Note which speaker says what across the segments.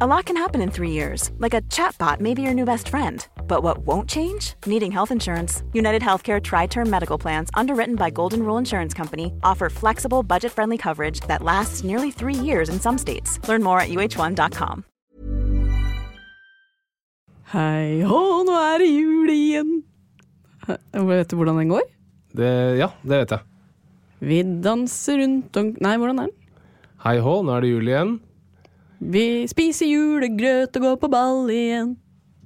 Speaker 1: A lot can happen in three years, like a chatbot may be your new best friend. But what won't change? Needing health insurance. United Healthcare Tri Term Medical Plans, underwritten by Golden Rule Insurance Company, offer flexible, budget friendly coverage that lasts nearly three years in some states. Learn more at uh1.com.
Speaker 2: Hei hå, nå er det jul igjen. Hæ, Vet du hvordan den går?
Speaker 3: Det, ja, det vet jeg.
Speaker 2: Vi danser rundt om Nei, hvordan er den?
Speaker 3: Hei hå, nå er det jul igjen.
Speaker 2: Vi spiser julegrøt og går på ball igjen.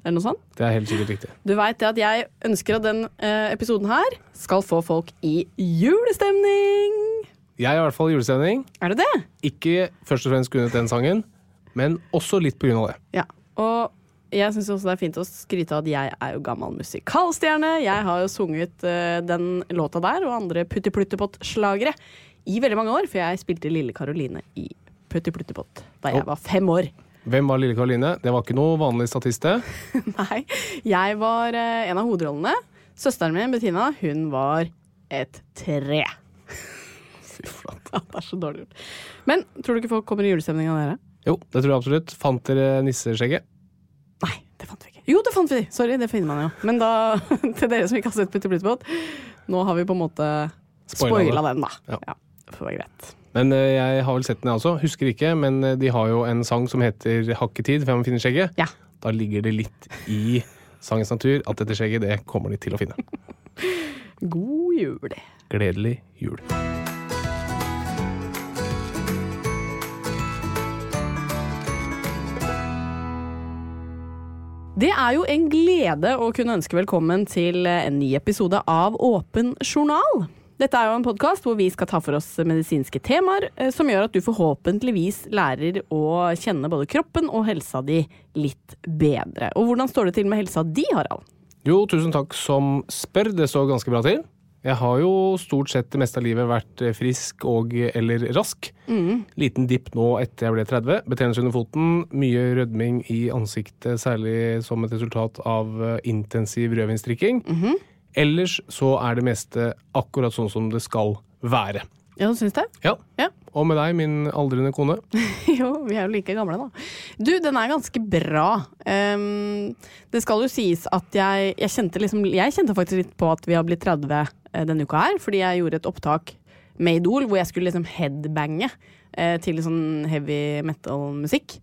Speaker 2: Er det noe sånt?
Speaker 3: Det er helt sikkert riktig.
Speaker 2: Du veit at jeg ønsker at den eh, episoden her skal få folk i julestemning.
Speaker 3: Jeg er i hvert fall i julestemning.
Speaker 2: Er det det?
Speaker 3: Ikke først og fremst grunnet den sangen, men også litt på grunn av det.
Speaker 2: Ja. Og jeg syns også det er fint å skryte av at jeg er jo gammel musikalstjerne. Jeg har jo sunget eh, den låta der og andre Putti Pluttepott-slagere i veldig mange år, for jeg spilte Lille Karoline i Putti Pluttepott da jeg var fem år.
Speaker 3: Hvem var Lille Karoline? Det var ikke noe vanlig statist, det.
Speaker 2: Nei, jeg var eh, en av hovedrollene. Søsteren min, Bettina, hun var et tre. Fy flate. Det er så dårlig gjort. Men tror du ikke folk kommer i julestemning av dere?
Speaker 3: Jo, det tror jeg absolutt. Fant dere nisseskjegget?
Speaker 2: Nei, det fant vi ikke. Jo, det fant vi! Sorry, det finner man jo. Men da, til dere som ikke har sett Putti Pluttebåt, nå har vi på en måte
Speaker 3: Spoila det.
Speaker 2: spoila den, da.
Speaker 3: Ja.
Speaker 2: Ja. det får være greit.
Speaker 3: Men eh, jeg har vel sett den, jeg også. Husker ikke, men eh, de har jo en sang som heter 'Hakketid', for jeg må finne skjegget.
Speaker 2: Ja.
Speaker 3: Da ligger det litt i sangens natur at dette skjegget, det kommer de til å finne.
Speaker 2: God jul.
Speaker 3: Gledelig jul.
Speaker 2: Det er jo en glede å kunne ønske velkommen til en ny episode av Åpen journal. Dette er jo en podkast hvor vi skal ta for oss medisinske temaer eh, som gjør at du forhåpentligvis lærer å kjenne både kroppen og helsa di litt bedre. Og hvordan står det til med helsa di, Harald?
Speaker 3: Jo, tusen takk som spør. Det står ganske bra til. Jeg har jo stort sett det meste av livet vært eh, frisk og eller rask. Liten dipp nå etter jeg ble 30. Betennelse under foten, mye rødming i ansiktet, særlig som et resultat av eh, intensiv rødvinsdrikking. Ellers så er det meste akkurat sånn som det skal være.
Speaker 2: Ja, du syns det?
Speaker 3: Ja.
Speaker 2: Ja.
Speaker 3: Og med deg, min aldrende kone.
Speaker 2: Jo, vi er jo like gamle, da. Du, den er ganske bra. Ehm, det skal jo sies at jeg, jeg kjente liksom Jeg kjente faktisk litt på at vi har blitt 30 eh, denne uka her, fordi jeg gjorde et opptak med Idol hvor jeg skulle liksom headbange eh, til sånn heavy metal-musikk.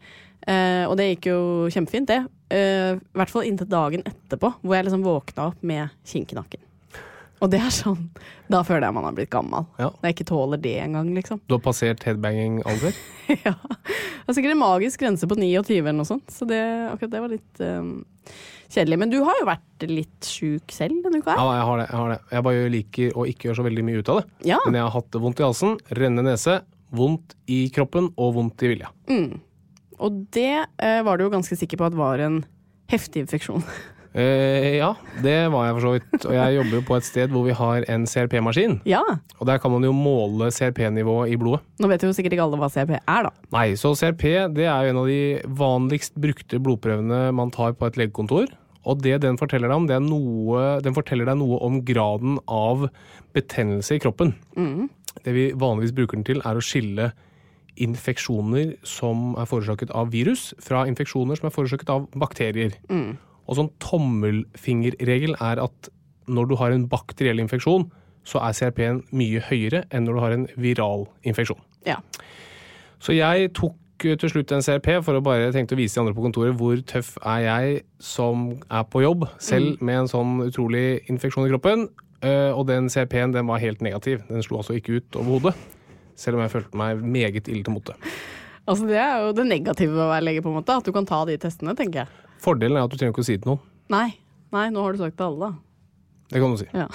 Speaker 2: Eh, og det gikk jo kjempefint, det. Eh, I hvert fall inntil dagen etterpå, hvor jeg liksom våkna opp med kink i nakken. Og det er sånn Da føler jeg man har blitt gammel.
Speaker 3: Ja.
Speaker 2: Når jeg ikke tåler det engang, liksom.
Speaker 3: Du har passert headbanging-alder.
Speaker 2: Ja. Det er sikkert en magisk grense på 29 eller noe sånt, så det, akkurat det var litt eh, kjedelig. Men du har jo vært litt sjuk selv denne uka
Speaker 3: Ja,
Speaker 2: her.
Speaker 3: jeg har det. Jeg har det. Jeg bare liker å ikke gjøre så veldig mye ut av det.
Speaker 2: Ja.
Speaker 3: Men jeg har hatt vondt i halsen, rennende nese, vondt i kroppen og vondt i vilja.
Speaker 2: Og det eh, var du jo ganske sikker på at var en heftig infeksjon.
Speaker 3: Eh, ja, det var jeg for så vidt. Og jeg jobber jo på et sted hvor vi har en CRP-maskin.
Speaker 2: ja.
Speaker 3: Og der kan man jo måle CRP-nivået i blodet.
Speaker 2: Nå vet jo sikkert ikke alle hva CRP er, da.
Speaker 3: Nei, så CRP det er jo en av de vanligst brukte blodprøvene man tar på et legekontor. Og det den forteller deg om, det er noe, den forteller deg noe om graden av betennelse i kroppen. Det vi vanligvis bruker den til, er å skille infeksjoner som er forårsaket av virus, fra infeksjoner som er forårsaket av bakterier. Og sånn tommelfingerregel er at når du har en bakteriell infeksjon, så er CRP-en mye høyere enn når du har en viral infeksjon.
Speaker 2: Ja.
Speaker 3: Så jeg tok eh, til slutt en CRP for å bare tenkte å vise de andre på kontoret hvor tøff er jeg som er på jobb, selv med en sånn utrolig infeksjon i kroppen. Eh, Og den CRP-en den var helt negativ. Den slo altså ikke ut overhodet. Selv om jeg følte meg meget ille til mote.
Speaker 2: Altså, det er jo det negative ved å være lege, på en måte. At du kan ta de testene, tenker jeg.
Speaker 3: Fordelen er at du trenger ikke å si det til noen.
Speaker 2: Nei, nei nå har du sagt det til alle, da.
Speaker 3: Det kan du si.
Speaker 2: Ja.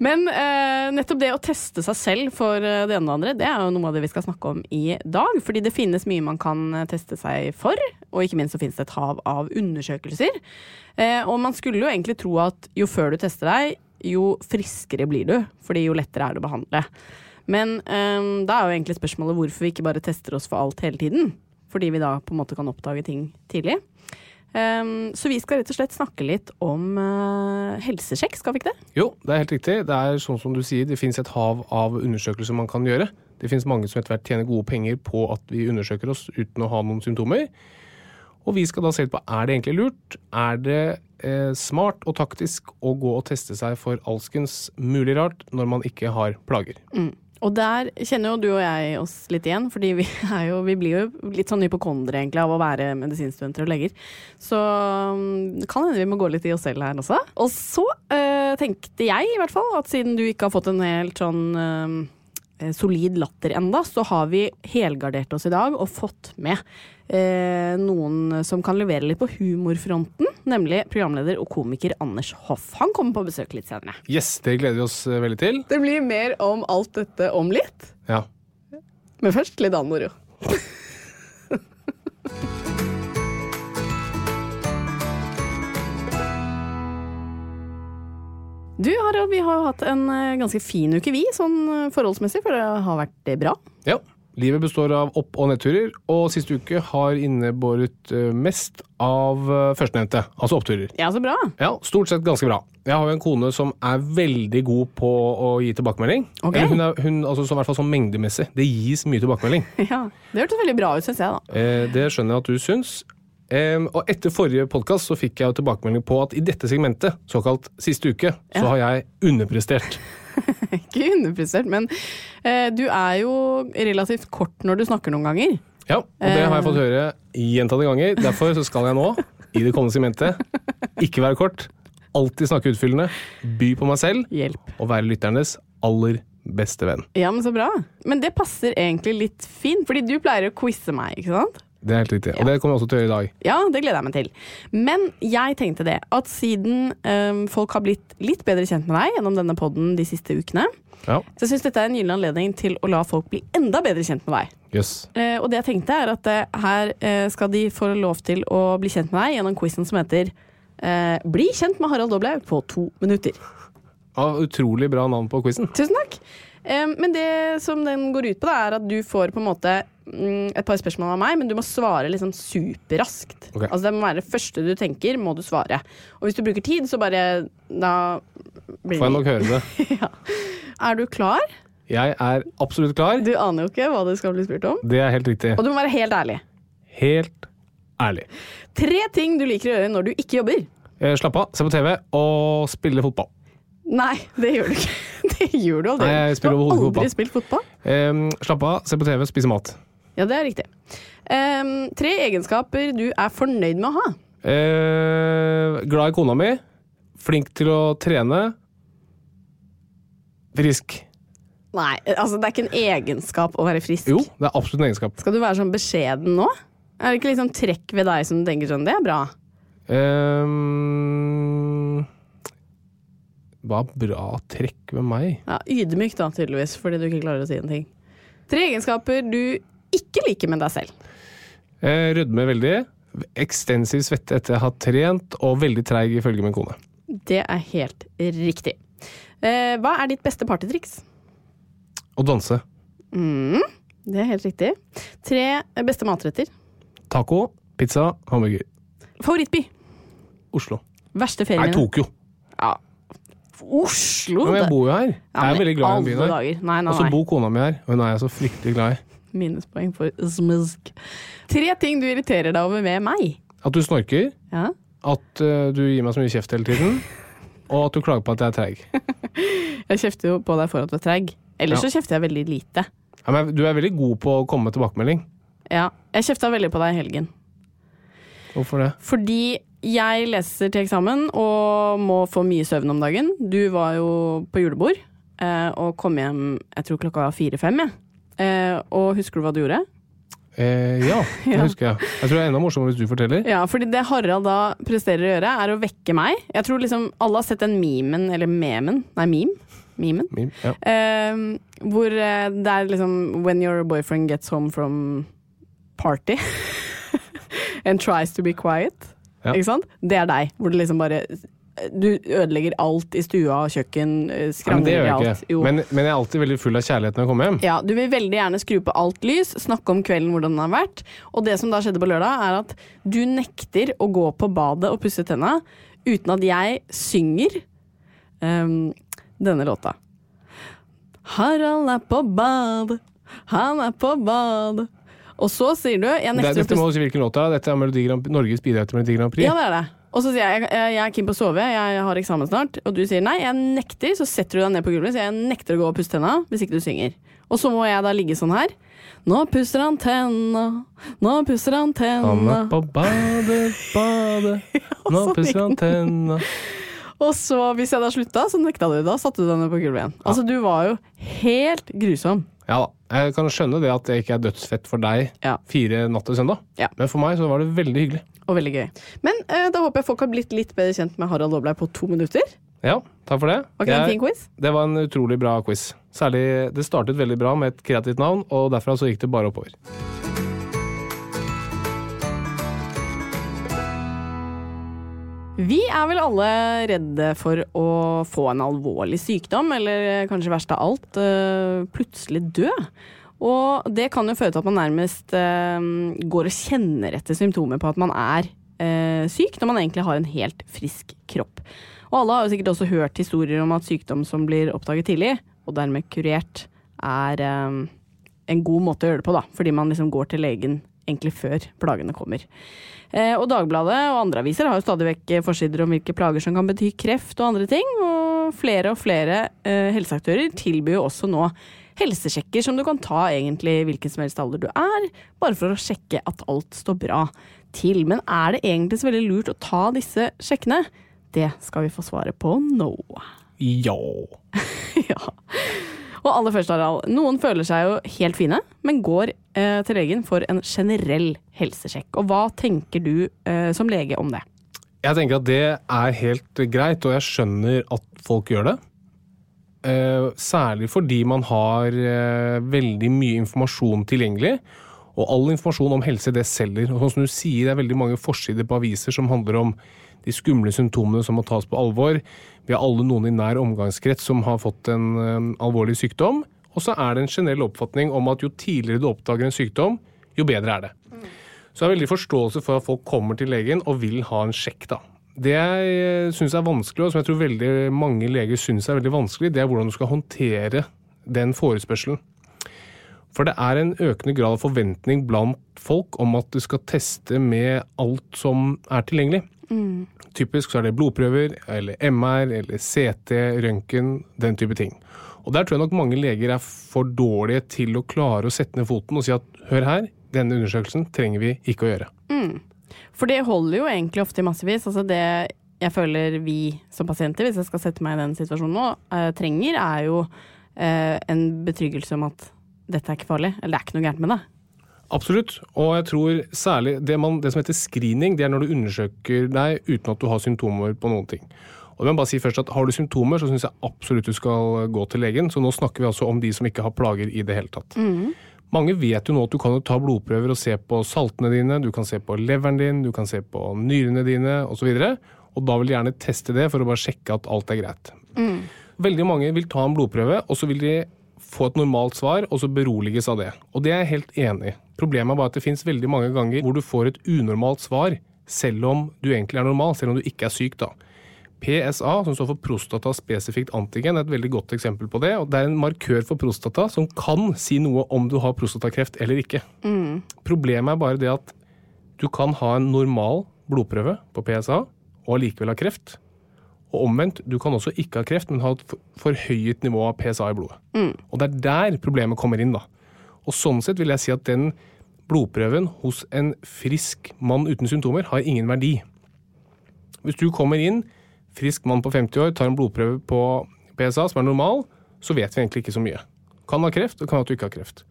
Speaker 2: Men eh, nettopp det å teste seg selv for eh, det ene og det andre, det er jo noe av det vi skal snakke om i dag. Fordi det finnes mye man kan eh, teste seg for, og ikke minst så finnes det et hav av undersøkelser. Eh, og man skulle jo egentlig tro at jo før du tester deg, jo friskere blir du. Fordi jo lettere er det å behandle. Men eh, da er jo egentlig spørsmålet hvorfor vi ikke bare tester oss for alt hele tiden. Fordi vi da på en måte kan oppdage ting tidlig. Um, så vi skal rett og slett snakke litt om eh, helsesjekk, skal vi ikke det?
Speaker 3: Jo, det er helt riktig. Det er sånn som du sier, det finnes et hav av undersøkelser man kan gjøre. Det finnes mange som etter hvert tjener gode penger på at vi undersøker oss uten å ha noen symptomer. Og vi skal da se litt på er det egentlig lurt. Er det eh, smart og taktisk å gå og teste seg for alskens mulig rart når man ikke har plager?
Speaker 2: Og der kjenner jo du og jeg oss litt igjen, fordi vi, er jo, vi blir jo litt sånn hypokondere egentlig av å være medisinstudenter og leger. Så um, det kan hende vi må gå litt i oss selv her også. Og så eh, tenkte jeg i hvert fall at siden du ikke har fått en helt sånn eh, solid latter enda, så har vi helgardert oss i dag og fått med eh, noen som kan levere litt på humorfronten, nemlig programleder og komiker Anders Hoff. Han kommer på besøk litt senere.
Speaker 3: Yes, det gleder vi oss eh, veldig til.
Speaker 2: Det blir mer om alt dette om litt.
Speaker 3: Ja.
Speaker 2: Men først litt annen moro. Du Harald, vi har jo hatt en eh, ganske fin uke vi, sånn eh, forholdsmessig, for det har vært eh, bra.
Speaker 3: Ja. Livet består av opp- og nedturer, og siste uke har innebåret eh, mest av eh, førstnevnte, altså oppturer.
Speaker 2: Ja, så bra.
Speaker 3: Ja, stort sett ganske bra. Jeg har jo en kone som er veldig god på å gi tilbakemelding.
Speaker 2: Ok.
Speaker 3: Eller Hun er, hun, altså, som, i hvert fall sånn mengdemessig. Det gis mye tilbakemelding.
Speaker 2: Ja, Det hørtes veldig bra ut, syns jeg, da.
Speaker 3: Eh, det skjønner jeg at du syns. Eh, og etter forrige podkast fikk jeg jo tilbakemelding på at i dette segmentet, såkalt siste uke, så har jeg underprestert.
Speaker 2: Ikke underprestert, men eh, du er jo relativt kort når du snakker noen ganger.
Speaker 3: Ja, Og det har jeg fått høre gjentatte ganger. Derfor så skal jeg nå, i det kommende segmentet, ikke være kort. Alltid snakke utfyllende, by på meg selv
Speaker 2: Hjelp.
Speaker 3: og være lytternes aller beste venn.
Speaker 2: Ja, men så bra. Men det passer egentlig litt fint, fordi du pleier å quize meg, ikke sant?
Speaker 3: Det er helt riktig. Og det kommer jeg også til å gjøre i dag.
Speaker 2: Ja, det gleder jeg meg til. Men jeg tenkte det, at siden øhm, folk har blitt litt bedre kjent med deg gjennom denne podden de siste ukene,
Speaker 3: Ja,
Speaker 2: så syns dette er en gyllen anledning til å la folk bli enda bedre kjent med deg.
Speaker 3: jøss.
Speaker 2: Eh, og det jeg tenkte, er at eh, her eh, skal de få lov til å bli kjent med deg gjennom quizen som heter eh, Bli kjent med Harald Doblaug på to minutter.
Speaker 3: Ja, utrolig bra navn på quizen.
Speaker 2: Tusen takk. Eh, Men det som den går ut på, da, er at du får på en måte mm, et par spørsmål av meg, men du må svare liksom superraskt.
Speaker 3: Ok.
Speaker 2: Altså Det må være det første du tenker, må du svare. Og hvis du bruker tid, så bare Da blir
Speaker 3: Får jeg
Speaker 2: det
Speaker 3: nok høre det.
Speaker 2: ja. Er du klar?
Speaker 3: Jeg er absolutt klar.
Speaker 2: Du aner jo ikke hva du skal bli spurt om.
Speaker 3: Det er helt riktig.
Speaker 2: Og du må være helt ærlig.
Speaker 3: Helt ærlig.
Speaker 2: Tre ting du liker å gjøre når du ikke jobber.
Speaker 3: Eh, Slapp av, se på TV og spille fotball.
Speaker 2: Nei, det gjør du ikke. Det gjør du aldri.
Speaker 3: Nei, jeg spiller
Speaker 2: du har aldri
Speaker 3: overhodet ikke fotball.
Speaker 2: spilt fotball.
Speaker 3: Em, slapp av, se på TV, spise mat.
Speaker 2: Ja, det er riktig. Ehm, tre egenskaper du er fornøyd med å ha.
Speaker 3: Eh, glad i kona mi. Flink til å trene. Frisk.
Speaker 2: Nei, altså det er ikke en egenskap å være frisk.
Speaker 3: Jo, det er absolutt en egenskap.
Speaker 2: Skal du være sånn beskjeden nå? Er det ikke liksom trekk ved deg som du tenker sånn, det er bra?
Speaker 3: Em, hva bra trekk ved meg.
Speaker 2: Ja, Ydmyk da, tydeligvis, fordi du ikke klarer å si en ting. Tre egenskaper du ikke liker med deg selv.
Speaker 3: Eh, rødmer veldig. Ekstensiv svette etter jeg har trent, og veldig treig ifølge min kone.
Speaker 2: Det er helt riktig. Eh, hva er ditt beste partytriks?
Speaker 3: Å danse.
Speaker 2: Mm, det er helt riktig. Tre beste matretter.
Speaker 3: Taco, pizza, hamburger.
Speaker 2: Favorittby.
Speaker 3: Oslo.
Speaker 2: Verste
Speaker 3: Nei,
Speaker 2: ferien din.
Speaker 3: Tokyo.
Speaker 2: Oslo!
Speaker 3: Ja, men jeg bor jo her.
Speaker 2: Oh, Ja,
Speaker 3: Jeg er
Speaker 2: men
Speaker 3: veldig glad i den
Speaker 2: alle
Speaker 3: byen her.
Speaker 2: dager. Nei, nei,
Speaker 3: Og så
Speaker 2: nei.
Speaker 3: bor kona mi her, og hun er jeg så fryktelig glad i.
Speaker 2: Minuspoeng for smsk. Tre ting du irriterer deg over med meg.
Speaker 3: At du snorker,
Speaker 2: Ja.
Speaker 3: at eh, du gir meg så mye kjeft hele tiden, og at du klager på at jeg er treig.
Speaker 2: Jeg kjefter jo på deg for at du er treig. Ellers
Speaker 3: Ja.
Speaker 2: så kjefter jeg veldig lite.
Speaker 3: Ja, men du er veldig god på å komme med tilbakemelding.
Speaker 2: Ja. Jeg kjefta veldig på deg i helgen.
Speaker 3: Hvorfor det?
Speaker 2: Fordi jeg leser til eksamen og må få mye søvn om dagen. Du var jo på julebord eh, og kom hjem jeg tror klokka var fire-fem. jeg. Eh, og husker du hva du gjorde?
Speaker 3: Eh, ja, det
Speaker 2: Ja.
Speaker 3: husker jeg. Jeg tror det er enda morsommere hvis du forteller.
Speaker 2: Ja, fordi det Harald da presterer å gjøre, er å vekke meg. Jeg tror liksom alle har sett den memen, eller memen, nei meme, memen.
Speaker 3: Mim, Ja.
Speaker 2: Eh, hvor eh, det er liksom When your boyfriend gets home from party and tries to be quiet.
Speaker 3: Ja.
Speaker 2: Ikke sant? Det er deg. Hvor det liksom bare Du ødelegger alt i stua, kjøkken, eh,
Speaker 3: Nei, men det
Speaker 2: skrangler
Speaker 3: gjør
Speaker 2: i
Speaker 3: jeg
Speaker 2: alt.
Speaker 3: ikke. Men, men jeg er alltid veldig full av kjærlighet når jeg kommer hjem.
Speaker 2: Ja, du vil veldig gjerne skru på alt lys, snakke om kvelden hvordan den har vært. Og det som da skjedde på lørdag, er at du nekter å gå på badet og pusse tenna uten at jeg synger ehm, denne låta. Harald er på bad, han er på bad. Og så sier du Jeg
Speaker 3: Det,
Speaker 2: nekter å
Speaker 3: dette må
Speaker 2: pusse
Speaker 3: du si hvilken låt det er. Dette er Melodi Grand, Norges bidrag til Melodi Grand Prix.
Speaker 2: Ja, det er det. Og så sier jeg jeg jeg er keen på å sove, jeg har eksamen snart. Og du sier nei, jeg nekter. Så setter du deg ned på gulvet, så jeg nekter å gå og pusse tenna hvis ikke du synger. Og så må jeg da ligge sånn her. Nå pusser han tenna, nå pusser han
Speaker 3: Han
Speaker 2: tenna.
Speaker 3: er på badet, badet, nå pusser han tenna.
Speaker 2: Og så, hvis jeg da slutta, så nekta du. Da satte du deg ned på gulvet igjen. Altså, du var jo helt grusom.
Speaker 3: Ja da. Jeg kan skjønne det at det ikke er dødsfett for deg
Speaker 2: Ja.
Speaker 3: fire natt til søndag,
Speaker 2: Ja.
Speaker 3: men for meg så var det veldig hyggelig.
Speaker 2: Og veldig gøy. Men eh, da håper jeg folk har blitt litt bedre kjent med Harald Aableid på to minutter.
Speaker 3: Ja, takk for det.
Speaker 2: Var ikke det en
Speaker 3: Jeg-
Speaker 2: fin quiz?
Speaker 3: Det var en utrolig bra quiz. Særlig, Det startet veldig bra med et kreativt navn, og derfra så gikk det bare oppover.
Speaker 2: Vi er vel alle redde for å få en alvorlig sykdom, eller kanskje verst av alt, øh, plutselig dø. Og det kan jo føre til at man nærmest øh, går og kjenner etter symptomer på at man er øh, syk, når man egentlig har en helt frisk kropp. Og alle har jo sikkert også hørt historier om at sykdom som blir oppdaget tidlig, og dermed kurert, er øh, en god måte å gjøre det på, da. Fordi man liksom går til legen egentlig før plagene kommer. Eh, og Dagbladet og andre aviser har jo stadig vekk eh, forsider om hvilke plager som kan bety kreft og andre ting. Og flere og flere eh, helseaktører tilbyr jo også nå helsesjekker som du kan ta egentlig i hvilken som helst alder du er, bare for å sjekke at alt står bra til. Men er det egentlig så veldig lurt å ta disse sjekkene? Det skal vi få svaret på nå.
Speaker 3: Ja.
Speaker 2: Ja. Og aller først, Harald. Noen føler seg jo helt fine, men går eh, til legen for en generell helsesjekk. Og hva tenker du eh, som lege om det?
Speaker 3: Jeg tenker at det er helt greit, og jeg skjønner at folk gjør det. Eh, Særlig fordi man har eh, veldig mye informasjon tilgjengelig. Og all informasjon om helse, det selger. Og sånn som du sier, det er veldig mange forsider på aviser som handler om de skumle symptomene som må tas på alvor. Vi har alle noen i nær omgangskrets som har fått en eh, alvorlig sykdom. Og så er det en generell oppfatning om at jo tidligere du oppdager en sykdom, jo bedre er det. Så jeg har veldig forståelse for at folk kommer til legen og vil ha en sjekk, da. Det jeg syns er vanskelig, og som jeg tror veldig mange leger syns er veldig vanskelig, det er hvordan du skal håndtere den forespørselen. For det er en økende grad av forventning blant folk om at du skal teste med alt som er tilgjengelig. Typisk så er det blodprøver, eller MR, eller CT, røntgen, den type ting. Og der tror jeg nok mange leger er for dårlige til å klare å sette ned foten og si at hør her, denne undersøkelsen trenger vi ikke å gjøre.
Speaker 2: For det holder jo egentlig ofte i massevis. Altså det jeg føler vi som pasienter, hvis jeg skal sette meg i den situasjonen nå, eh, trenger, er jo eh, en betryggelse om at dette er ikke farlig. Eller det er ikke noe gærent med det.
Speaker 3: Absolutt, og jeg tror særlig det, man, det som heter screening, det er når du undersøker deg uten at du har symptomer på noen ting. Og jeg må bare si først at Har du symptomer, så syns jeg absolutt du skal gå til legen. Så nå snakker vi altså om de som ikke har plager i det hele tatt. Mange vet jo nå at du kan jo ta blodprøver og se på saltene dine, du kan se på leveren din, du kan se på nyrene dine osv. Og da vil de gjerne teste det for å bare sjekke at alt er greit. Veldig mange vil ta en blodprøve, og så vil de få et normalt svar, og så beroliges av det. Og det er jeg helt enig i. Problemet er bare at det fins veldig mange ganger hvor du får et unormalt svar, selv om du egentlig er normal, selv om du ikke er syk, da. PSA, som står for prostata spesifikt antigen, er et veldig godt eksempel på det. og Det er en markør for prostata som kan si noe om du har prostatakreft eller ikke. Problemet er bare det at du kan ha en normal blodprøve på PSA og allikevel ha kreft. Og omvendt, du kan også ikke ha kreft, men ha et for- forhøyet nivå av PSA i blodet. Og det er der problemet kommer inn, da. Og sånn sett vil jeg si at den blodprøven hos en frisk mann uten symptomer har ingen verdi. Hvis du kommer inn, frisk mann på 50 år, tar en blodprøve på PSA som er normal, så vet vi egentlig ikke så mye. Kan ha kreft, og kan ha at du ikke har kreft.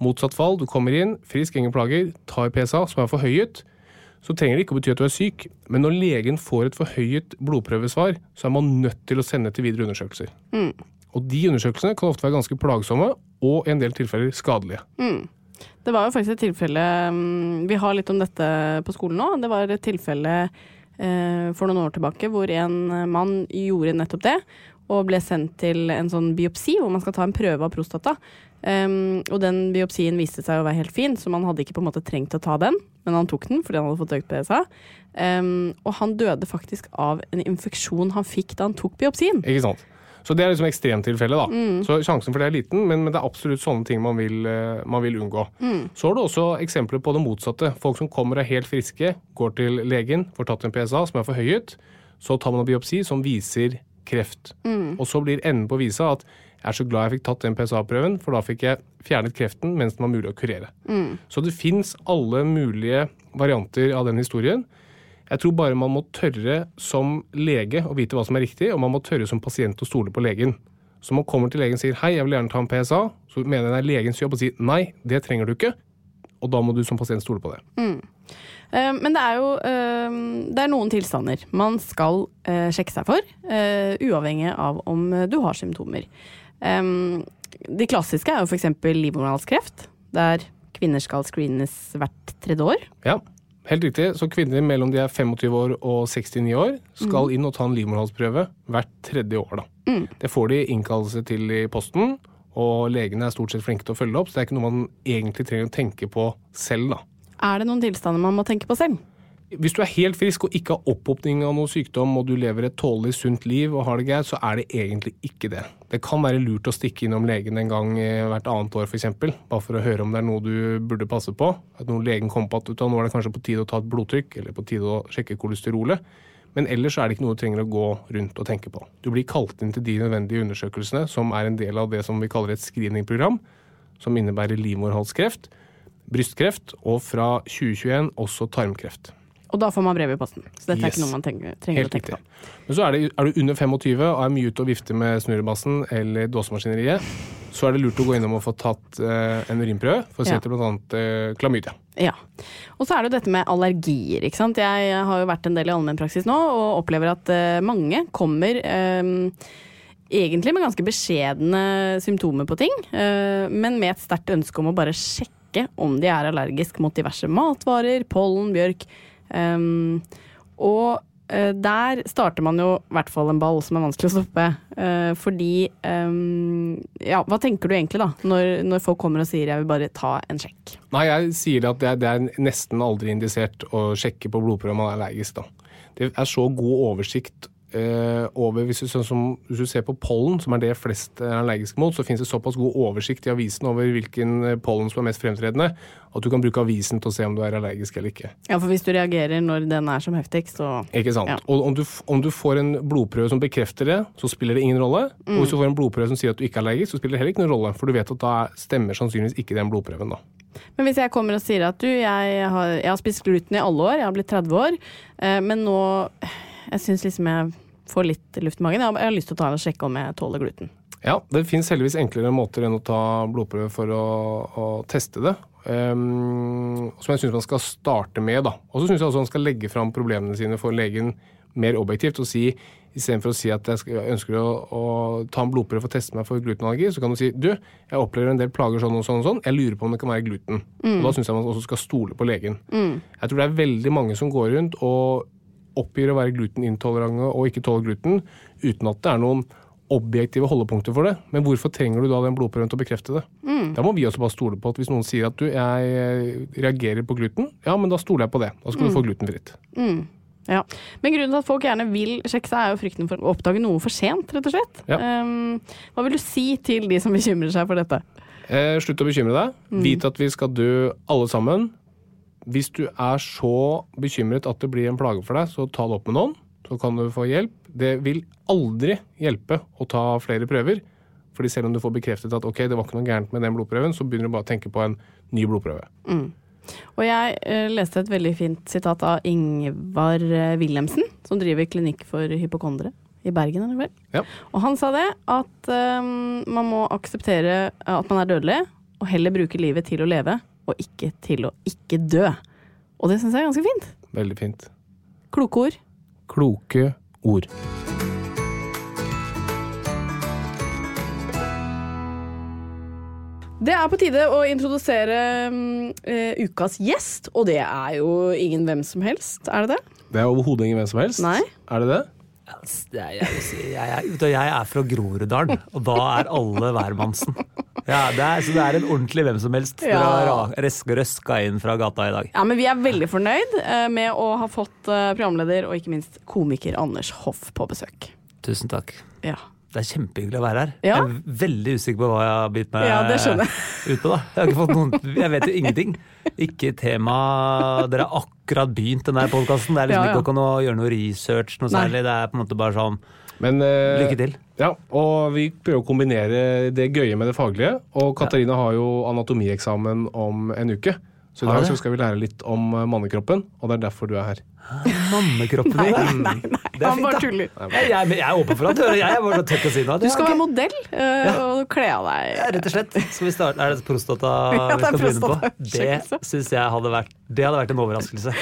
Speaker 3: Motsatt fall, du kommer inn, frisk, ingen plager, tar PSA som er forhøyet, så trenger det ikke å bety at du er syk, men når legen får et forhøyet blodprøvesvar, så er man nødt til å sende til videre undersøkelser. Og de undersøkelsene kan ofte være ganske plagsomme, og i en del tilfeller skadelige.
Speaker 2: Det var jo faktisk et tilfelle mm, Vi har litt om dette på skolen nå. Det var et tilfelle eh, for noen år tilbake hvor en mann gjorde nettopp det. Og ble sendt til en sånn biopsi hvor man skal ta en prøve av prostata. Em, og den biopsien viste seg å være helt fin, så man hadde ikke på en måte trengt å ta den. Men han tok den fordi han hadde fått økt PSA. Em, og han døde faktisk av en infeksjon han fikk da han tok biopsien.
Speaker 3: Ikke sant? Så det er liksom ekstremtilfelle, da. Så sjansen for det er liten, men, men det er absolutt sånne ting man vil, eh, man vil unngå. Så har du også eksempler på det motsatte. Folk som kommer og er helt friske, går til legen, får tatt en PSA som er forhøyet, så tar man en biopsi som viser kreft. Og så blir enden på visa at jeg er så glad jeg fikk tatt den PSA-prøven, for da fikk jeg fjernet kreften mens den var mulig å kurere. Så det fins alle mulige varianter av den historien. Jeg tror bare man må tørre som lege å vite hva som er riktig, og man må tørre som pasient å stole på legen. Så man kommer til legen og sier 'hei, jeg vil gjerne ta en PSA', så mener jeg det er legens jobb å si 'nei, det trenger du ikke', og da må du som pasient stole på det.
Speaker 2: Eh, Men det er jo eh, det er noen tilstander man skal eh, sjekke seg for, eh, uavhengig av om eh, du har symptomer. Em, De klassiske er jo f.eks. livmorhalskreft, der kvinner skal screenes hvert tredje år.
Speaker 3: Ja, helt riktig. Så kvinner mellom de er 25 år og 69 år skal inn og ta en livmorhalsprøve hvert tredje år. Da. Det får de innkallelse til i posten, og legene er stort sett flinke til å følge opp, så det er ikke noe man egentlig trenger å tenke på selv. da.
Speaker 2: Er det noen tilstander man må tenke på selv?
Speaker 3: Hvis du er helt frisk og ikke har opphopning av noen sykdom, og du lever et tålelig sunt liv og har det greit, så er det egentlig ikke det. Det kan være lurt å stikke innom legen en gang eh, hvert annet år, f.eks. Bare for å høre om det er noe du burde passe på. At noen legen kom på at «Vet du hva, nå er det kanskje på tide å ta et blodtrykk, eller på tide å sjekke kolesterolet. Men ellers så er det ikke noe du trenger å gå rundt og tenke på. Du blir kalt inn til de nødvendige undersøkelsene, som er en del av det som vi kaller et screeningprogram, som innebærer livmorhalskreft, brystkreft og fra 2021 også tarmkreft.
Speaker 2: Og da får man brev i posten. Så dette er
Speaker 3: Yes.
Speaker 2: ikke noe man tenker, trenger
Speaker 3: Helt
Speaker 2: å tenke
Speaker 3: riktig.
Speaker 2: på.
Speaker 3: Men så er, det, er du under 25 og er mye ute og vifter med snurrebassen eller dåsemaskineriet, så er det lurt å gå innom og få tatt eh, en urinprøve for å se
Speaker 2: Ja.
Speaker 3: etter bl.a. Eh, klamydia.
Speaker 2: Ja. Og så er det jo dette med allergier. ikke sant? Jeg har jo vært en del i allmennpraksis nå og opplever at eh, mange kommer eh, egentlig med ganske beskjedne symptomer på ting, eh, men med et sterkt ønske om å bare sjekke om de er allergisk mot diverse matvarer, pollen, bjørk. Eh, og eh, der starter man jo i hvert fall en ball som er vanskelig å stoppe. eh, fordi eh, Ja, hva tenker du egentlig da, når, når folk kommer og sier 'jeg vil bare ta en sjekk'?
Speaker 3: Nei, jeg sier at det er, det er nesten aldri indisert å sjekke på blodprøve om man er allergisk. da. Det er så god oversikt eh, over hvis du, sånn som, hvis du ser på pollen, som er det flest er allergiske mot, så finnes det såpass god oversikt i avisen over hvilken eh, pollen som er mest fremtredende, at du kan bruke avisen til å se om du er allergisk eller ikke.
Speaker 2: Ja, for hvis du reagerer når den er som heftigst, så
Speaker 3: Ikke sant?
Speaker 2: Ja.
Speaker 3: Og om du, f- om du får en blodprøve som bekrefter det, så spiller det ingen rolle. Og hvis du får en blodprøve som sier at du ikke er allergisk, så spiller det heller ikke noen rolle. For du vet at da stemmer sannsynligvis ikke den blodprøven, da.
Speaker 2: Men hvis jeg kommer og sier at du, jeg har, jeg har spist gluten i alle år, jeg har blitt 30 år, eh, men nå Jeg syns liksom jeg får litt luft i magen. Jeg har, jeg har lyst til å ta en sjekke om jeg tåler gluten.
Speaker 3: Ja, det finnes heldigvis enklere måter enn å ta blodprøve for å, å teste det. Ehm, som jeg syns man skal starte med. da. Og så syns jeg også man skal legge fram problemene sine for legen mer objektivt. og si, Istedenfor å si at jeg, skal, jeg ønsker å, å ta en blodprøve for å teste meg for glutenallergi, så kan du si du, jeg opplever en del plager sånn og sånn og sånn, jeg lurer på om det kan være gluten. Og Da syns jeg man også skal stole på legen. Jeg tror det er veldig mange som går rundt og oppgir å være glutenintolerante og ikke tåler gluten, uten at det er noen objektive holdepunkter for det. Men hvorfor trenger du da den blodprøven til å bekrefte det? Da må vi også bare stole på at hvis noen sier at du, jeg eh, reagerer på gluten, ja, men da stoler jeg på det. Da skal du få glutenfritt.
Speaker 2: Ja. Men grunnen til at folk gjerne vil sjekke seg, er jo frykten for å oppdage noe for sent, rett og slett.
Speaker 3: Ja.
Speaker 2: Ehm, hva vil du si til de som bekymrer seg for dette?
Speaker 3: Eh, slutt å bekymre deg. Vit at vi skal dø alle sammen. Hvis du er så bekymret at det blir en plage for deg, så ta det opp med noen. Så kan du få hjelp. Det vil aldri hjelpe å ta flere prøver. Fordi selv om du får bekreftet at ok, det var ikke noe gærent med den blodprøven, så begynner du bare å tenke på en ny blodprøve.
Speaker 2: Og jeg eh, leste et veldig fint sitat av Ingvar eh, Wilhelmsen, som driver klinikk for hypokondere i Bergen. er det vel?
Speaker 3: Ja.
Speaker 2: Og han sa det, at eh, man må akseptere eh, at man er dødelig, og heller bruke livet til å leve, og ikke til å ikke dø. Og det syns jeg er ganske fint.
Speaker 3: Veldig fint.
Speaker 2: Kloke ord.
Speaker 3: Kloke ord.
Speaker 2: Det er på tide å introdusere mm, eh, ukas gjest, og det er jo ingen hvem som helst, er det det?
Speaker 3: Det er overhodet ingen hvem som helst.
Speaker 2: Nei.
Speaker 3: Er det det?
Speaker 4: Altså, det er- Jeg, vil si- jeg, er- vet du, jeg er fra Groruddalen, og da er alle hvermannsen. Ja, det er, så det er en ordentlig hvem som helst. Dere har ra- res- røska inn fra gata i dag.
Speaker 2: Ja, men vi er veldig fornøyd eh, med å ha fått eh, programleder og ikke minst komiker Anders Hoff på besøk.
Speaker 4: Tusen takk.
Speaker 2: Ja.
Speaker 4: Det er kjempehyggelig å være her.
Speaker 2: Ja.
Speaker 4: Jeg er veldig usikker på hva jeg har bitt meg
Speaker 2: Ja, det skjønner jeg.
Speaker 4: ut på. da. Jeg, har ikke fått noen, jeg vet jo ingenting. Ikke tema Dere har akkurat begynt den der podkasten. Det er liksom
Speaker 2: Ja, ja.
Speaker 4: ikke noe å gjøre noe research noe
Speaker 2: Nei.
Speaker 4: særlig. Det er på en måte bare sånn
Speaker 3: Men, eh,
Speaker 4: Lykke til.
Speaker 3: Ja, og vi prøver å kombinere det gøye med det faglige. Og Katarina har jo anatomieksamen om en uke. Så i
Speaker 4: Har
Speaker 3: dag
Speaker 4: det?
Speaker 3: så skal vi lære litt om eh, mannekroppen, og det er derfor du er her.
Speaker 4: Mannekroppen din.
Speaker 2: Nei, nei,
Speaker 4: Det er
Speaker 2: han
Speaker 4: fint,
Speaker 2: bare
Speaker 4: da.
Speaker 2: tuller.
Speaker 4: Jeg, jeg, jeg er åpen for at du hører. Jeg er bare så tøff å si noe.
Speaker 2: Du skal være modell eh, og kle av
Speaker 4: Ja,
Speaker 2: deg.
Speaker 4: Rett og slett. Skal vi starte? Er det prostata
Speaker 2: Ja,
Speaker 4: vi
Speaker 2: det er
Speaker 4: skal begynne på?
Speaker 2: prostataundersøkelse.
Speaker 4: Det syns jeg hadde vært, det hadde vært en overraskelse.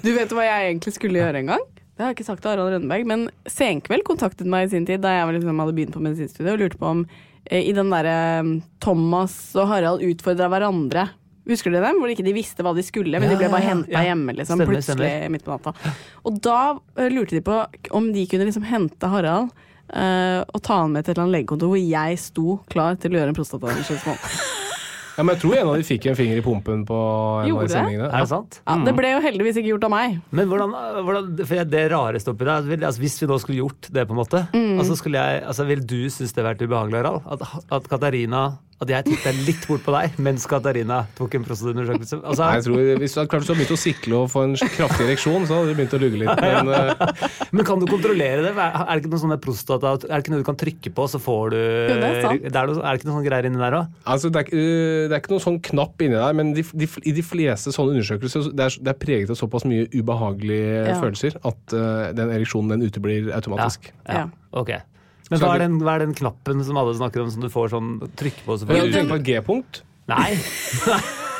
Speaker 2: Du vet hva jeg egentlig skulle gjøre en gang? Det har jeg ikke sagt til Harald Rønneberg, men Senkveld kontaktet meg i sin tid da jeg liksom hadde begynt på medisinstudiet og lurte på om eh, i den derre eh, Thomas og Harald utfordra hverandre. Husker du dem? Hvor ikke de visste hva de skulle, men
Speaker 4: Ja,
Speaker 2: de ble bare
Speaker 4: ja, ja.
Speaker 2: henta
Speaker 4: Ja.
Speaker 2: hjemme liksom,
Speaker 4: Stemmer,
Speaker 2: plutselig
Speaker 4: stemmer.
Speaker 2: midt på natta. Og da eh, lurte de på om de kunne liksom hente Harald eh, og ta han med til et eller annet legekontor hvor jeg sto klar til å gjøre en prostataundersøkelse.
Speaker 3: Ja, men jeg tror en av de fikk en finger i pumpen på en av
Speaker 2: Gjorde
Speaker 3: de
Speaker 2: det?
Speaker 3: sendingene.
Speaker 4: Er det sant?
Speaker 2: Ja, det ble jo heldigvis ikke gjort av meg.
Speaker 4: Men hvordan, hvordan for jeg- det rareste oppi der vil- altså Hvis vi nå skulle gjort det, på en måte
Speaker 2: Mm.
Speaker 4: altså skulle jeg, altså Vil du synes det vært ubehagelig, Harald? At, at Katarina At jeg titta litt bort på deg mens Katarina tok en prostataundersøkelse?
Speaker 3: Nei, jeg
Speaker 4: Altså,
Speaker 3: tror, Hvis du hadde klart å begynne å sikle og få en kraftig ereksjon, så hadde du begynt å lugge litt. Men eh,
Speaker 4: men kan du kontrollere det? Er er det ikke noe sånne prostata Er det ikke noe du kan trykke på, så får du
Speaker 2: Jo, det er sant.
Speaker 4: det er, noe, er det ikke noe sånn greier inni der òg?
Speaker 3: altså, det, er, ikke- eh, det er ikke noen sånn knapp inni der, men de, de, i de fleste sånne undersøkelser så det er, det er preget av såpass mye ubehagelige
Speaker 2: Ja.
Speaker 3: følelser at eh, den ereksjonen den uteblir automatisk.
Speaker 2: Ja.
Speaker 4: Ok. Men
Speaker 3: Så
Speaker 4: hva
Speaker 3: er
Speaker 4: er,
Speaker 3: det-
Speaker 4: den, hva er den knappen som alle snakker om, som du får sånn trykk på? Så
Speaker 3: Men
Speaker 4: får
Speaker 3: du
Speaker 4: du
Speaker 3: tenker på et G-punkt?
Speaker 4: Nei!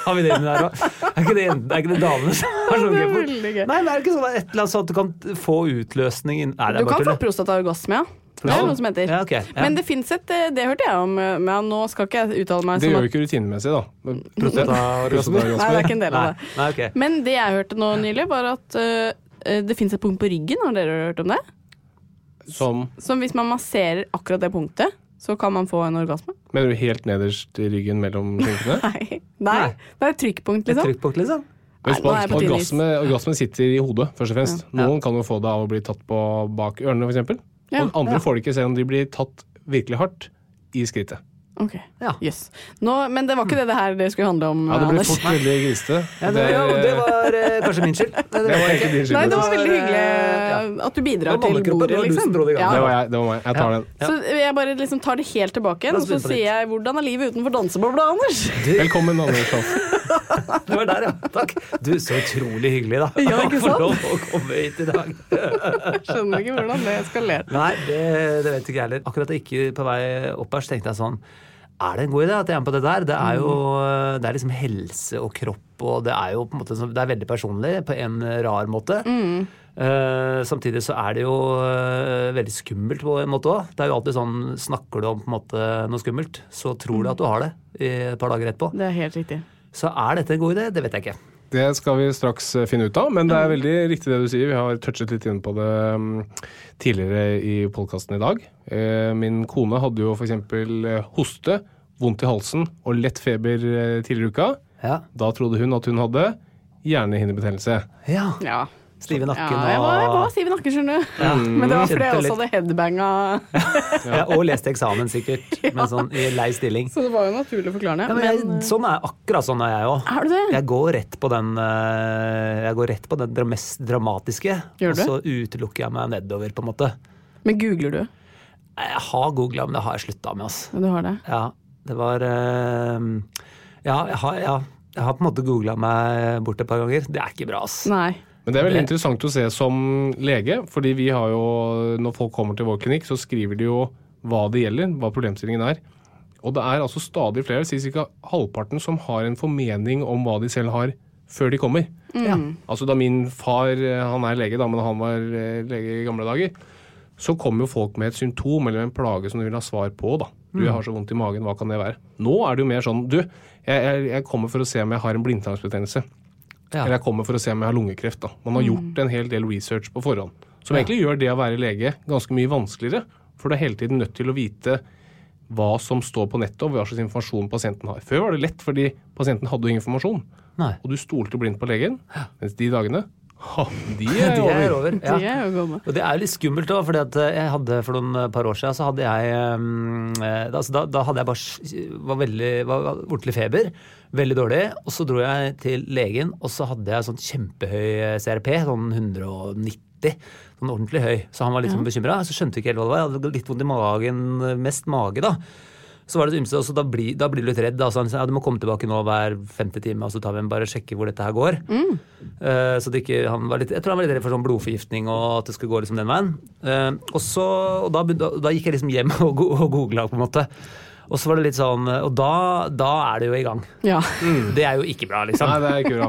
Speaker 4: Har vi det inni der òg? Er ikke det, jenten- er ikke det damene som har sånn
Speaker 2: det er
Speaker 4: grep på?
Speaker 2: veldig gøy.
Speaker 4: Nei, men er det ikke sånn at et eller annet sånt du kan få utløsning inn Nei, det
Speaker 2: Du
Speaker 4: er bare
Speaker 2: kan få
Speaker 4: tull. det.
Speaker 2: prostataorgasme, ja. Det er noe som heter.
Speaker 4: Ja, ok, ja.
Speaker 2: Men det fins et eh, Det hørte jeg om, eh, men nå skal ikke jeg uttale meg
Speaker 3: Det gjør
Speaker 2: sånn.
Speaker 3: vi ikke rutinemessig, da. Men-
Speaker 2: Mm.
Speaker 4: Prostataorgasme.
Speaker 2: Nei, det er ikke en del av
Speaker 4: Nei,
Speaker 2: det.
Speaker 4: nei, ok.
Speaker 2: Men det jeg hørte nå nylig, var at eh, eh, det fins et punkt på ryggen, har dere hørt om det?
Speaker 3: Som
Speaker 2: Som hvis man masserer akkurat det punktet, så kan man få en orgasme.
Speaker 3: Mener du helt nederst i ryggen mellom skinkene?
Speaker 2: Nei. Nei. Det er et trykkpunkt,
Speaker 4: Et
Speaker 2: liksom.
Speaker 4: trykkpunkt, liksom?
Speaker 3: Husk på
Speaker 2: nå er jeg
Speaker 3: at
Speaker 2: på tynn is.
Speaker 3: orgasme, orgasmen sitter i hodet, først og fremst. Noen kan jo få det av å bli tatt på bak ørene, f.eks.
Speaker 2: Ja.
Speaker 3: Og andre får det ikke selv om de blir tatt virkelig hardt i skrittet.
Speaker 2: Ok,
Speaker 4: Ja.
Speaker 2: Jøss. Nå, men det var ikke det det her det skulle handle om, eh,
Speaker 3: Ja, det ble
Speaker 2: Anders.
Speaker 3: fort veldig grisete.
Speaker 4: Ja, det, ja, det var eh, kanskje min skyld. Nei,
Speaker 3: det var egentlig din skyld.
Speaker 2: Nei, det var
Speaker 4: Det var,
Speaker 2: veldig hyggelig
Speaker 4: eh,
Speaker 2: at du
Speaker 4: Det var
Speaker 2: bidrar til
Speaker 4: mannekroppen, det
Speaker 2: bordet,
Speaker 4: var du som
Speaker 2: liksom.
Speaker 4: dro det i gang.
Speaker 2: Ja.
Speaker 3: Det var jeg. Det var meg. Jeg tar den.
Speaker 2: Så jeg bare liksom tar det helt tilbake igjen,
Speaker 4: La
Speaker 2: og
Speaker 4: oss
Speaker 2: så
Speaker 4: begynne på nytt.
Speaker 2: sier jeg 'Hvordan er livet utenfor dansebobla', Anders?
Speaker 3: Velkommen, Anders Hoff.
Speaker 4: Det var der, ja. Takk. Du, så utrolig hyggelig, da.
Speaker 2: Ja, ikke sant?
Speaker 4: For lov å komme hit i dag.
Speaker 2: Skjønner ikke hvordan det eskalerte.
Speaker 4: Nei, det, det vet ikke jeg heller. Akkurat da jeg gikk på vei opp her, så tenkte jeg sånn Er det en god idé at jeg er med på det der? Det er jo det er liksom helse og kropp, og det er jo på en måte sånn- Det er veldig personlig på en rar måte. Eh, samtidig så er det jo eh, veldig skummelt på en måte òg. Det er jo alltid sånn Snakker du om på en måte noe skummelt, så tror du at du har det i et par dager etterpå.
Speaker 2: Det er helt riktig.
Speaker 4: Så er dette en god idé? Det vet jeg ikke.
Speaker 3: Det skal vi straks eh, finne ut av, men det er veldig riktig det du sier. Vi har touchet litt inn på det mm, tidligere i podkasten i dag. Eh, Min kone hadde jo f.eks. hoste, vondt i halsen og lett feber eh, tidligere i uka.
Speaker 4: Ja.
Speaker 3: Da trodde hun at hun hadde hjernehinnebetennelse.
Speaker 4: ja.
Speaker 2: Ja.
Speaker 4: Stive
Speaker 2: Sånn, ja
Speaker 4: nakken
Speaker 2: jeg var, sånn. jeg var
Speaker 4: og
Speaker 2: stiv nakke, skjønner du.
Speaker 4: Ja. Mm,
Speaker 2: Men det var fordi jeg
Speaker 4: Kjente
Speaker 2: også hadde
Speaker 4: litt.
Speaker 2: headbanga,
Speaker 4: ja, Og leste eksamen, sikkert. Med sånn i lei stilling.
Speaker 2: så det var jo naturlig forklarende.
Speaker 4: Ja, men jeg,
Speaker 2: men, Ah.
Speaker 4: sånn er akkurat sånn er jeg òg.
Speaker 2: Er du det?
Speaker 4: Jeg går rett på den, eh, jeg går rett på den dra- mest dramatiske,
Speaker 2: Gjør
Speaker 4: og
Speaker 2: du?
Speaker 4: så utelukker jeg meg nedover, på en måte.
Speaker 2: men googler du?
Speaker 4: Jeg har googla, men det har jeg slutta med. Altså.
Speaker 2: Du har det?
Speaker 4: Ja, det var eh, Ja, jeg har, ja, jeg har på en måte googla meg bort et par ganger. Det er ikke bra, altså. ass.
Speaker 2: Nei.
Speaker 3: Men det er veldig
Speaker 4: Det-
Speaker 3: interessant å se som lege, fordi vi har jo, når folk kommer til vår klinikk, så skriver de jo hva det gjelder, hva problemstillingen er. Og det er altså stadig flere, det sier ca. halvparten, som har en formening om hva de selv har, før de kommer. Altså da min far, eh, han er lege da, men han var eh, lege i gamle dager, så kom jo folk med et symptom eller en plage som de vil ha svar på. da. Du, jeg har så vondt i magen, hva kan det være? Nå er det jo mer sånn, du, jeg, jeg, jeg kommer for å se om jeg har en blindtarmsbetennelse.
Speaker 4: Ja. Mm.
Speaker 3: Eller jeg kommer for å se om jeg har lungekreft. da. Man har gjort en hel del research på forhånd. Som egentlig gjør det å være lege ganske mye vanskeligere. For du er hele tiden nødt til å vite hva som står på nettet, og hva slags informasjon pasienten har. Før var det lett, fordi pasienten hadde jo ingen informasjon.
Speaker 4: Nei.
Speaker 3: Og du stolte blindt på legen. Mens de dagene, ha, de
Speaker 4: De
Speaker 3: er
Speaker 4: er
Speaker 3: over.
Speaker 4: over.
Speaker 2: De
Speaker 4: Ja.
Speaker 2: er jo gamle.
Speaker 4: Og det er jo litt skummelt òg, for eh, jeg hadde for noen par år siden så hadde jeg eh, eh, altså da, da hadde jeg bare s- var veldig, var, var ordentlig feber, veldig dårlig, og så dro jeg til legen, og så hadde jeg sånn kjempehøy eh, CRP, sånn 190. Sånn ordentlig høy. Så han var litt sånn bekymra. Så skjønte vi ikke helt hva det var. Jeg hadde litt vondt i magen, mest mage, da. Så var det så ymse, og så da, blir- da blir du litt redd. Da. Så han sa ja, du må komme tilbake nå hver femte time, og så tar vi en bare og sjekker hvor dette her går.
Speaker 2: Mm.
Speaker 4: Eh, så det ikke, han var litt, jeg tror han var litt redd for sånn blodforgiftning og at det skulle gå liksom den veien. Eh, og så, og da, begynte- da gikk jeg liksom hjem og, go og googla, på en måte. Og så var det litt sånn Og da, da er det jo i gang.
Speaker 2: Ja.
Speaker 4: Det er jo ikke bra, liksom.
Speaker 3: Nei, det er ikke bra.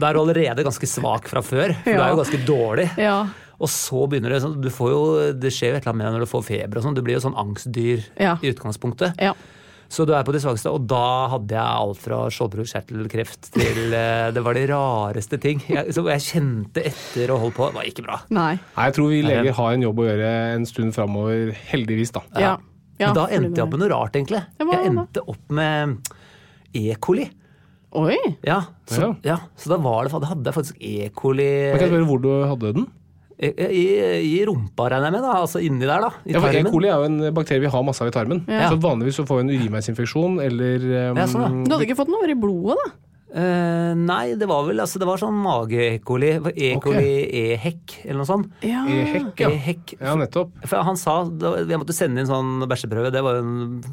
Speaker 4: Da er du allerede ganske svak fra før. For du er
Speaker 2: Ja.
Speaker 4: jo ganske dårlig.
Speaker 2: ja.
Speaker 4: Og så begynner det sånn du får jo, Det skjer jo et eller annet med deg når du får feber og sånn. Du blir jo sånn angstdyr
Speaker 2: Ja.
Speaker 4: i utgangspunktet.
Speaker 2: ja.
Speaker 4: Så du er på de svakeste. Og da hadde jeg alt fra skjoldbruskkjertelkreft til eh, Det var de rareste ting. Jeg, så jeg kjente etter og holdt på. Det var ikke bra.
Speaker 2: Nei.
Speaker 3: Nei, jeg tror vi leger har en jobb å gjøre en stund framover, heldigvis, da.
Speaker 2: Ja. ja.
Speaker 4: Men da endte jeg opp med noe rart, egentlig.
Speaker 2: Ja, hva
Speaker 4: Jeg
Speaker 2: da?
Speaker 4: endte opp med E. coli.
Speaker 2: Oi!
Speaker 4: Ja, så,
Speaker 3: Ja.
Speaker 4: ja, så da var det, da hadde jeg faktisk E. coli
Speaker 3: Men kan
Speaker 4: i,
Speaker 3: jeg spørre hvor du hadde den?
Speaker 4: i, i rumpa, regner jeg med. da, Altså inni der, da. I
Speaker 3: Ja, for E.
Speaker 4: tarmen.
Speaker 3: coli er jo en bakterie vi har masse av i tarmen. Så vanligvis så får vi en urinveisinfeksjon eller um,
Speaker 4: Ja, sånn, ja.
Speaker 2: Du hadde ikke fått noe over i blodet, da?
Speaker 4: Eh, nei, det var vel altså, det var sånn mage-e-coli. E-coli, e-hekk, eller noe sånt.
Speaker 2: Ja.
Speaker 3: E-hekk, ja.
Speaker 4: E-hekk.
Speaker 3: ja. Nettopp.
Speaker 4: For han sa da- Jeg måtte sende inn sånn bæsjeprøve. Det var jo en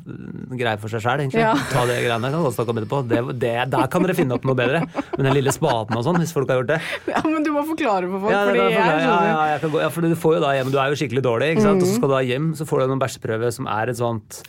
Speaker 4: greie for seg sjæl, egentlig.
Speaker 2: Ja.
Speaker 4: Ta det greiene der, kan vi godt snakke om etterpå. Det, det, der kan dere finne opp noe bedre. Men den lille spaden og sånn, hvis folk har gjort det.
Speaker 2: ja, men du må forklare for folk,
Speaker 4: Ja,
Speaker 2: fordi
Speaker 4: det kan jeg
Speaker 2: jeg sånn,
Speaker 4: forklare. ja, ja,
Speaker 2: skjønner.
Speaker 4: jeg kan gå, ja, for du får jo da hjem, du er jo skikkelig dårlig, ikke sant? og så
Speaker 2: Mm.
Speaker 4: skal du da hjem, så får du en bæsjeprøve som er et sånt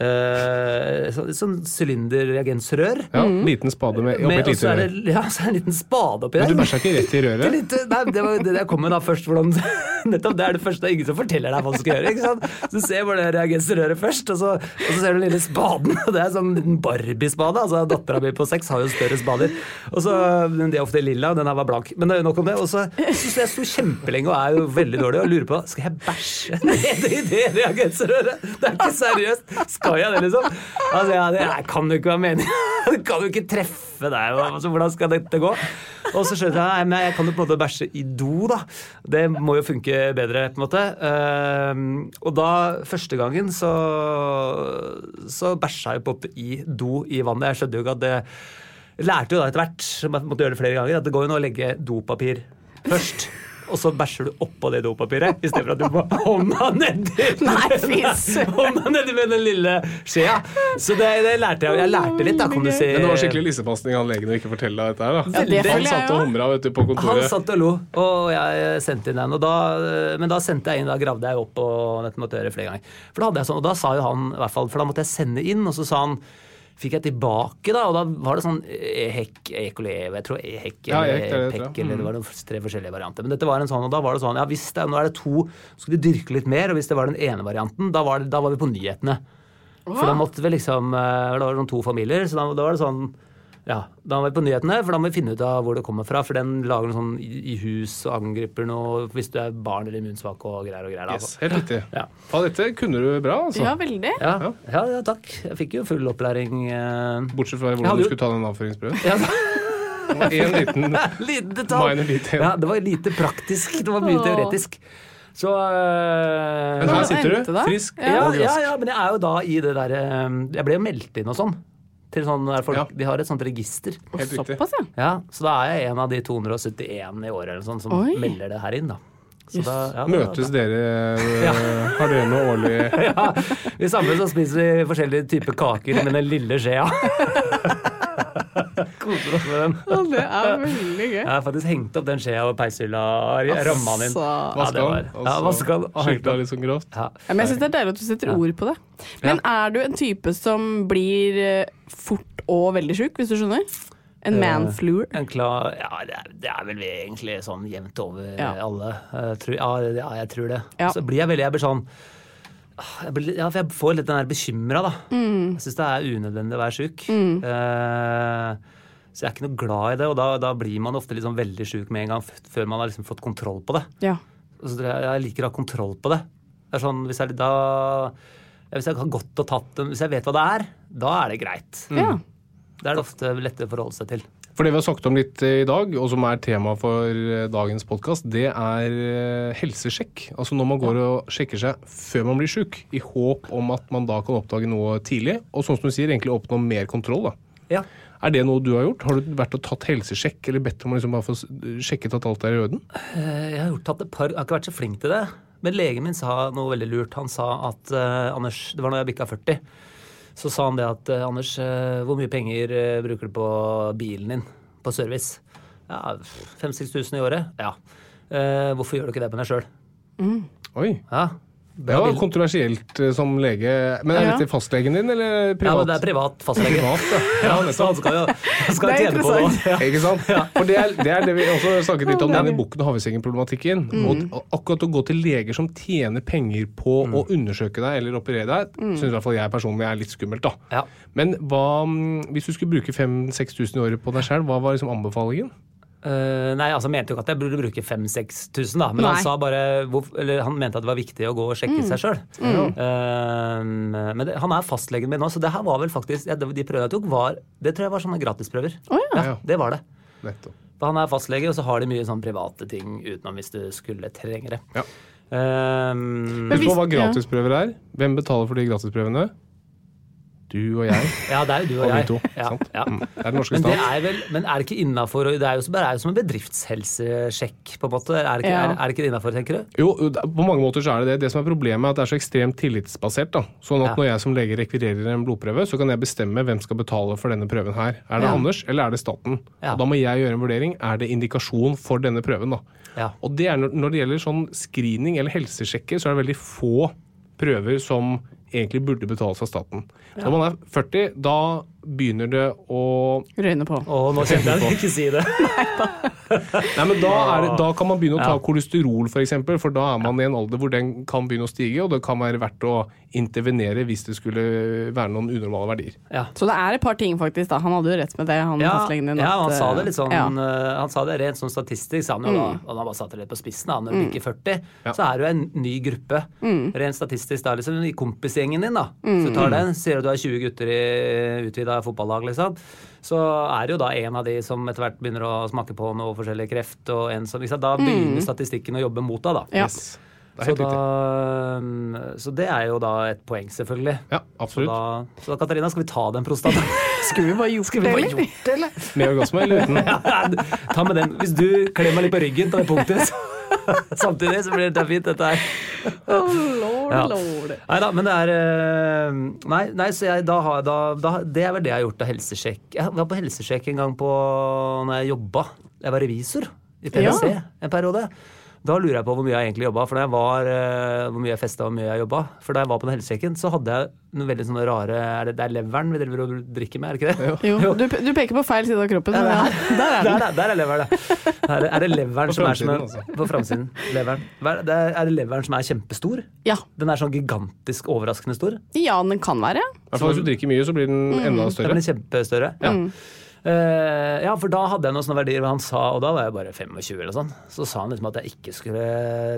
Speaker 4: eh, så, Sånn sylinderreagensrør.
Speaker 3: Ja, Liten spade med, oppi
Speaker 4: Med-
Speaker 3: et
Speaker 4: Og så
Speaker 3: lite
Speaker 4: er
Speaker 3: rør.
Speaker 4: det ja, så er det en liten spade oppi
Speaker 3: Men
Speaker 4: der.
Speaker 3: du bæsja ikke rett i
Speaker 4: Det, er
Speaker 3: røret?
Speaker 4: litt, nei, det var jo det jeg kom med da først. Hvordan, nettopp Det er det første. Det er ingen som forteller deg hva du skal gjøre. ikke sant? Så du ser bare det reagensrøret først, og så, og så ser du den lille spaden. og Det er sånn en liten Barbie-spade. altså Dattera mi på seks har jo større spader. og så, men De er ofte lilla, og den her var blank. Men det er jo nok om det. og så så jeg sto kjempelenge og er jo veldig dårlig og lurer på skal jeg bæsje nede i det reagensrøret. Det er ikke seriøst! Skal jeg det, liksom? Altså, ja, Det her kan jo ikke være meningen. Det kan jo ikke treffe deg. og- Altså, hvordan skal dette gå? Og så skjønte jeg nei, men jeg kan jo på en måte bæsje i do, da. Det må jo funke bedre, på en måte. Ehm, og da, første gangen, så, så bæsja jeg på en måte i do i vannet. Jeg skjønte jo ikke at det Lærte jo da etter hvert, som jeg måtte gjøre det flere ganger, at det går jo an å legge dopapir først. Og så bæsjer du oppå det dopapiret istedenfor at du må ha hånda nedi
Speaker 2: Nei, fy søren.
Speaker 4: hånda nedi med den lille skjea. Så det, det lærte jeg. Jeg lærte litt, da, kan du si.
Speaker 3: Men det var skikkelig lissepasning av legen å ikke fortelle deg dette her, da.
Speaker 2: det føler
Speaker 3: han
Speaker 2: jeg
Speaker 3: satt
Speaker 2: jo.
Speaker 3: og humra vet du, på
Speaker 4: Han
Speaker 3: kontoret.
Speaker 4: satt og lo, og jeg sendte inn den. Og da, men da sendte jeg inn, da gravde jeg opp og dette måtte jeg gjøre flere ganger. For da hadde jeg sånn, og da sa jo han, i hvert fall, for da måtte jeg sende inn, og så sa han Fikk jeg tilbake, da, og da var det sånn hekk, ekolev, jeg tror hekk
Speaker 3: Ja,
Speaker 4: eller
Speaker 3: Hekk, det er det, tror jeg. Mm.
Speaker 4: pekk, eller det var noen tre forskjellige varianter. Men dette var en sånn, og da var det sånn, ja hvis det, nå er det to, så skulle du dyrke litt mer, og hvis det var den ene varianten, da var, det, da var vi på nyhetene. For da måtte vi liksom eh, Det var sånn to familier, så da, da var det sånn ja, Da var vi på nyhetene, for da må vi finne ut av hvor det kommer fra. For den lager noe sånn i i hus og angriper noe hvis du er barn eller immunsvak og greier og greier. da. altså.
Speaker 3: Yes, helt riktig.
Speaker 4: Ja.
Speaker 3: Ja, dette kunne du bra, altså.
Speaker 2: Ja, veldig.
Speaker 4: Ja, ja, ja, takk. Jeg fikk jo full opplæring. eh.
Speaker 3: Bortsett fra
Speaker 4: Jeg
Speaker 3: hvordan
Speaker 4: hadde
Speaker 3: du
Speaker 4: jo-
Speaker 3: skulle ta den avføringsprøven.
Speaker 4: Ja,
Speaker 3: Det var en liten
Speaker 4: liten detalj.
Speaker 3: Minor detail.
Speaker 4: Ja, det var lite praktisk. Det var mye
Speaker 2: Åh.
Speaker 4: teoretisk. Så eh,
Speaker 3: Men her
Speaker 2: Hva
Speaker 3: sitter
Speaker 2: endte
Speaker 3: du,
Speaker 2: da?
Speaker 3: frisk
Speaker 4: Ja,
Speaker 3: og
Speaker 4: ja,
Speaker 3: rask.
Speaker 4: ja, men jeg er jo da i det derre Jeg ble jo meldt inn og sånn. Til sånn der folk,
Speaker 3: Ja.
Speaker 4: De har et sånt register.
Speaker 3: Helt riktig.
Speaker 2: Såpass, ja.
Speaker 4: Ja, Så da er jeg en av de 271 i året eller sånn, som
Speaker 2: Oi.
Speaker 4: melder det her inn. da. Så da ja, da-
Speaker 3: Møtes dere eh, Har dere noe årlig
Speaker 4: Ja, Vi samles og spiser forskjellige typer kaker med den lille skjea. Koser oss med den.
Speaker 2: Å, Det er veldig gøy.
Speaker 4: Jeg har faktisk hengt opp den skjea og peishylla i ramma inn.
Speaker 2: Altså.
Speaker 4: Ja, det
Speaker 3: Vaska
Speaker 4: var-
Speaker 3: den, og
Speaker 4: Ja,
Speaker 3: så
Speaker 4: vaska den og hengt
Speaker 3: skylta
Speaker 4: opp.
Speaker 3: litt sånn grovt?
Speaker 4: Ja.
Speaker 2: Ja, men jeg synes Det er deilig at du setter ord på det. Men er du en type som blir eh, fort og veldig sjuk, hvis du skjønner?
Speaker 4: Eh.
Speaker 2: En manfluer?
Speaker 4: En klar, ja, det er, det er vel egentlig sånn jevnt over
Speaker 2: Ja.
Speaker 4: alle. eh, tror, ja, det- ja, jeg tror det.
Speaker 2: Ja.
Speaker 4: Så blir jeg veldig Jeg blir sånn ah, jeg blir, ja, for jeg får litt den der bekymra, da.
Speaker 2: Mm.
Speaker 4: Jeg syns det er unødvendig å være sjuk. Eh, så jeg er ikke noe glad i det, og da, da blir man ofte liksom veldig sjuk med en gang f- før man har liksom fått kontroll på det.
Speaker 2: Ja.
Speaker 4: Og så tror jeg, jeg liker å ha kontroll på det. Det er sånn, hvis jeg, da, ja, hvis jeg har gått og tatt den, hvis jeg vet hva det er, da er det greit.
Speaker 2: ja.
Speaker 4: Det er det ofte lettere å forholde seg til.
Speaker 3: For det vi har snakket om litt eh, i dag, og som er tema for eh, dagens podkast, det er eh, helsesjekk. Altså når man går og sjekker seg før man blir sjuk, i håp om at man da kan oppdage noe tidlig, og sånn som du sier, egentlig oppnå mer kontroll. da.
Speaker 4: Ja.
Speaker 3: Er det noe du har gjort? Har du vært og tatt helsesjekk, eller bedt om å liksom bare få s- sjekket at alt er i orden?
Speaker 4: Jeg har, gjort tatt et par, jeg har ikke vært så flink til det. Men legen min sa noe veldig lurt. Han sa at eh, Anders, det var når jeg bikka 40, så sa han det at eh, Anders, eh, hvor mye penger eh, bruker du på bilen din på service? Ja, 5000-6000 i året? Ja. Eh, hvorfor gjør du ikke det med deg sjøl?
Speaker 3: Oi.
Speaker 4: Ja.
Speaker 3: Det var
Speaker 4: bil.
Speaker 3: kontroversielt eh, som lege. Men er
Speaker 2: Ja.
Speaker 3: dette fastlegen din, eller
Speaker 4: ja, men
Speaker 3: privat?
Speaker 4: det er privat fastlege. ja, så han skal jo han skal
Speaker 2: Det er
Speaker 4: tjene på det også. Ja.
Speaker 3: Ikke sant? For det er, det er det vi også snakket litt om, denne bukken og havresengen-problematikken.
Speaker 4: Mm.
Speaker 3: Og akkurat å gå til leger som tjener penger på
Speaker 4: Mm.
Speaker 3: å undersøke deg eller operere deg, synes syns i hvert fall jeg personlig er litt skummelt.
Speaker 4: Ja.
Speaker 3: da. Men hva, mm, hvis du skulle bruke 5000-6000 i året på deg selv, hva var liksom anbefalingen?
Speaker 4: Eh, nei, altså han mente jo ikke at jeg burde bruke 5000-6000, da.
Speaker 2: Nei.
Speaker 4: Men
Speaker 2: Mm.
Speaker 4: han sa bare hvor, Eller han mente at det var viktig å gå og sjekke seg sjøl. men det, han er fastlegen min nå, så det her var vel faktisk ja, det- De prøvene jeg tok, var Det tror jeg var sånne gratisprøver.
Speaker 3: Ja.
Speaker 4: det var det.
Speaker 3: Nettopp.
Speaker 4: For han er fastlege, og så har de mye sånn private ting utenom hvis du skulle trenge det.
Speaker 3: Ja.
Speaker 4: Ehm,
Speaker 2: Men
Speaker 3: Husk på
Speaker 2: hvis-
Speaker 3: hva gratisprøver er. Hvem betaler for de gratisprøvene? Du og jeg.
Speaker 4: ja, det er jo du og,
Speaker 3: Og vi
Speaker 4: jeg.
Speaker 3: to,
Speaker 4: Ja,
Speaker 3: sant?
Speaker 4: ja.
Speaker 3: Mm. Det er den norske
Speaker 4: Men det
Speaker 3: stat.
Speaker 4: er, vel, men er det ikke innafor Det er jo, som- det er jo som en bedriftshelsesjekk, på en måte. Er det ikke,
Speaker 2: Ja.
Speaker 4: er, er det ikke innafor, tenker du?
Speaker 3: Jo, det- på mange måter så er det det. Det som er problemet er at det er så ekstremt tillitsbasert. da. Sånn at
Speaker 4: Ja.
Speaker 3: når jeg som lege rekvirerer en blodprøve, så kan jeg bestemme hvem skal betale for denne prøven her. Er det
Speaker 4: Ja.
Speaker 3: Anders, eller er det staten?
Speaker 4: Ja.
Speaker 3: Og da må jeg gjøre en vurdering. Er det indikasjon for denne prøven, da?
Speaker 4: Ja.
Speaker 3: Og det er når, når det gjelder sånn screening eller helsesjekker, så er det veldig få prøver som egentlig burde betales av staten. Når man er 40, da begynner det å
Speaker 2: Røyne på.
Speaker 4: Å, nå kjente jeg det. Ikke si det.
Speaker 3: Nei, men da, er det, da kan man begynne å ta kolesterol, f.eks., for, eksempel, for da er man i en alder hvor den kan begynne å stige, og det kan være verdt å intervenere hvis det skulle være noen unormale verdier.
Speaker 4: Ja.
Speaker 2: Så det er et par ting, faktisk. da Han hadde jo rett med det, han
Speaker 4: Ja,
Speaker 2: fastlegen din.
Speaker 4: ja,
Speaker 2: at,
Speaker 4: han sa det
Speaker 2: eh,
Speaker 4: litt sånn
Speaker 2: ja. Mm.
Speaker 4: eh, Han sa det rent sånn statistisk, sa han jo da. Og han bare satte det litt på spissen. da, Når du bikker 40,
Speaker 3: Ja.
Speaker 4: så er du en ny gruppe.
Speaker 2: Mm.
Speaker 4: Rent statistisk da, liksom i kompisgjengen din, da. Så du tar den, sier at du har 20 gutter i utvida fotballag, liksom, så er det jo da en av de som etter hvert begynner å smake på noe forskjellig kreft, og en som liksom, Da begynner statistikken å jobbe mot deg, da.
Speaker 2: Mm. Ja.
Speaker 3: Yes. Det er
Speaker 4: Så,
Speaker 3: helt
Speaker 4: da, mm,
Speaker 3: riktig.
Speaker 4: så det er jo da et poeng, selvfølgelig.
Speaker 3: Ja,
Speaker 4: Så
Speaker 3: absolutt.
Speaker 4: da, så da, Katarina, skal vi ta den prostata?
Speaker 2: Skulle vi bare gjort det, eller?
Speaker 3: Med orgasme eller uten?
Speaker 4: ta med den. Hvis du kler meg litt på ryggen, tar jeg punktet. så- Samtidig så blir det fint, dette her.
Speaker 2: Oh, lord,
Speaker 4: Ja.
Speaker 2: lord.
Speaker 4: Nei da, men det er eh, Nei, nei så jeg, da har, da, da, det er vel det jeg har gjort av helsesjekk. Jeg var på helsesjekk en gang på når jeg jobba. Jeg var revisor i PwC
Speaker 2: Ja.
Speaker 4: en periode. Da lurer jeg på hvor mye jeg egentlig jobba, for da jeg var, eh, hvor mye jeg festa og hvor mye jeg jobba. For da jeg var på den helsesjekken, så hadde jeg noen veldig sånne rare er det, det er leveren vi driver og drikker med, er det ikke det?
Speaker 2: Jo, du, pe- du peker på feil side av kroppen. Men ja. Der er
Speaker 4: Der,
Speaker 2: den.
Speaker 4: er- der er leveren, det. Er det, er det leveren
Speaker 3: På
Speaker 4: som er som en,
Speaker 3: framsiden, altså.
Speaker 4: På framsiden. Leveren. Hva Er det, er det leveren som er kjempestor?
Speaker 2: Ja.
Speaker 4: Den er sånn gigantisk overraskende stor.
Speaker 2: ja, den kan være.
Speaker 3: I hvert fall hvis du drikker mye, så blir den
Speaker 4: Mm,
Speaker 3: enda
Speaker 4: Det
Speaker 3: større.
Speaker 4: blir kjempestørre. Ja. Eh, ja, for da hadde jeg noen sånne verdier, og han sa, og da var jeg bare 25 eller sånn, så sa han liksom at jeg ikke skulle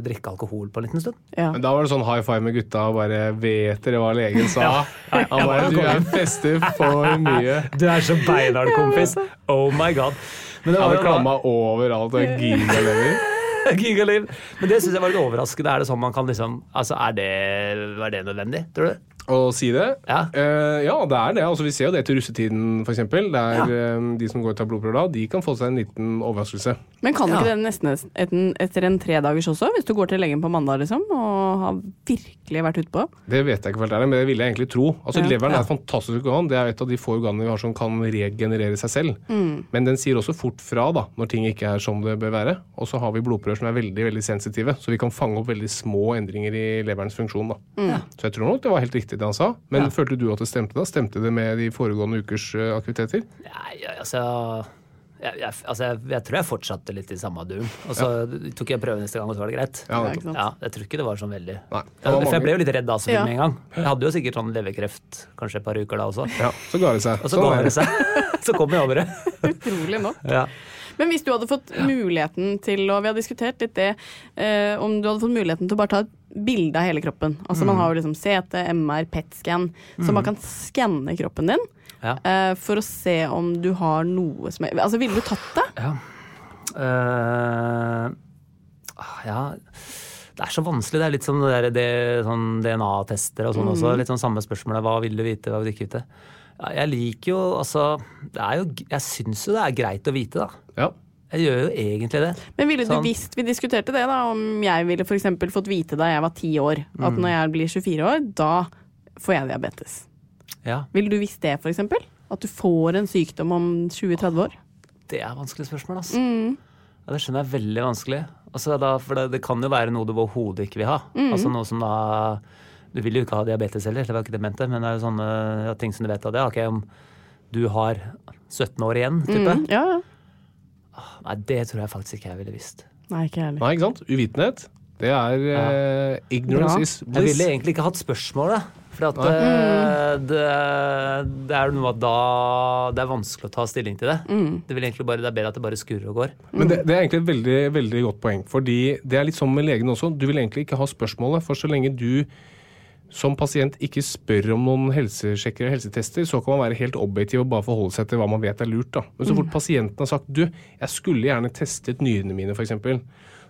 Speaker 4: drikke alkohol på en liten stund.
Speaker 2: Ja.
Speaker 3: Men da var det sånn high five med gutta og bare Vet dere hva legen sa? Han bare Du er fester for mye.
Speaker 4: Du er så beinhard, kompis! Oh my god. Men det
Speaker 3: Han
Speaker 4: var
Speaker 3: hadde
Speaker 4: jo
Speaker 3: klamma overalt og gigalever.
Speaker 4: da- Gigaliv. Men det syns jeg var litt overraskende. Er det sånn man kan liksom Altså, er det, er det nødvendig, tror du?
Speaker 3: Å si det?
Speaker 4: Ja.
Speaker 3: Eh, ja, det er det. Altså, vi ser jo det til russetiden, f.eks. Der eh, de som går og tar blodprøver da, de kan få seg en liten overraskelse.
Speaker 2: Men kan ikke
Speaker 4: Ja.
Speaker 2: den nesten et- en- etter en tredagers også, hvis du går til legen på mandag liksom, og har virkelig vært utpå?
Speaker 3: Det vet jeg ikke helt, men det ville jeg egentlig tro. Altså,
Speaker 2: Ja.
Speaker 3: Leveren er et fantastisk organ. Det er et av de få organene vi har som kan regenerere seg selv.
Speaker 4: Mm.
Speaker 3: Men den sier også fort fra da, når ting ikke er som det bør være. Og så har vi blodprøver som er veldig veldig sensitive, så vi kan fange opp veldig små endringer i leverens funksjon. da.
Speaker 4: Mm.
Speaker 3: Så jeg tror nok det var helt riktig det han sa. Men følte du at det stemte da? Stemte det med de foregående ukers eh, aktiviteter?
Speaker 4: Nei, jeg- altså jeg, jeg, altså, jeg, jeg tror jeg fortsatte litt i samme duren. Og så tok jeg prøve neste gang, og så var det greit.
Speaker 3: Ja,
Speaker 2: ikke sant.
Speaker 4: Ja, jeg tror ikke det var sånn veldig
Speaker 3: Nei, det
Speaker 4: Ja,
Speaker 3: var
Speaker 4: For jeg
Speaker 3: mange.
Speaker 4: ble jo litt redd da så
Speaker 2: Ja.
Speaker 4: med en gang. Jeg hadde jo sikkert sånn leverkreft kanskje et par uker da også.
Speaker 3: Ja, så ga det seg.
Speaker 4: Og så
Speaker 3: Sånn
Speaker 4: ga
Speaker 3: er
Speaker 4: det seg. Så kom jeg over det.
Speaker 2: Utrolig nok.
Speaker 4: Ja.
Speaker 2: Men hvis du hadde fått muligheten til, og vi har diskutert litt det, eh, om du hadde fått muligheten til å bare ta et bilde av hele kroppen. Altså Man har jo liksom CT, MR, PET-scan, så man kan skanne kroppen din
Speaker 4: Ja.
Speaker 2: eh, for å se om du har noe som er Altså, ville du tatt det?
Speaker 4: Eh, ah, ja Det er så vanskelig. Det er litt som det der, det, sånn DNA-tester og sånn også. Litt sånn samme spørsmålet. Hva vil du vite, hva vil du ikke vite? Ja, jeg liker jo altså det er jo, Jeg syns jo det er greit å vite, da.
Speaker 3: Ja.
Speaker 4: Jeg gjør jo egentlig det.
Speaker 2: Men ville
Speaker 4: Sånn.
Speaker 2: du visst Vi diskuterte det, da, om jeg ville f.eks. fått vite da jeg var ti år, at når jeg blir 24 år, da får jeg diabetes.
Speaker 4: Ja,
Speaker 2: Ville du visst det, f.eks.? At du får en sykdom om 20-30 år?
Speaker 4: Det er vanskelige spørsmål, altså. Ja, det skjønner jeg er veldig vanskelig. Altså, da, for det, det kan jo være noe du overhodet ikke vil ha. Altså noe som da Du vil jo ikke ha diabetes heller, det var ikke det jeg mente, men det er jo sånne ja, ting som du vet av det. Ok, om du har 17 år igjen, type.
Speaker 2: Mm, ja, ja.
Speaker 4: Nei, det tror jeg faktisk ikke jeg ville visst.
Speaker 2: Nei, ikke jeg heller.
Speaker 3: Nei, ikke sant? Uvitenhet. Det er eh, ignorance
Speaker 2: Bra.
Speaker 3: is
Speaker 4: Jeg
Speaker 3: bliss.
Speaker 4: ville egentlig ikke hatt spørsmålet. For at, eh, det, det er noe at da Det er vanskelig å ta stilling til det. Det, vil egentlig bare, det er bedre at det bare skurrer og går.
Speaker 3: Men det, det er egentlig et veldig, veldig godt poeng. Fordi det er litt sånn med legene også. Du vil egentlig ikke ha spørsmålet, for så lenge du som pasient ikke spør om noen helsesjekker og helsetester, så kan man være helt objektiv og bare forholde seg til hva man vet er lurt. Da. Men så fort pasienten har sagt du, jeg skulle gjerne testet nyrene mine f.eks.,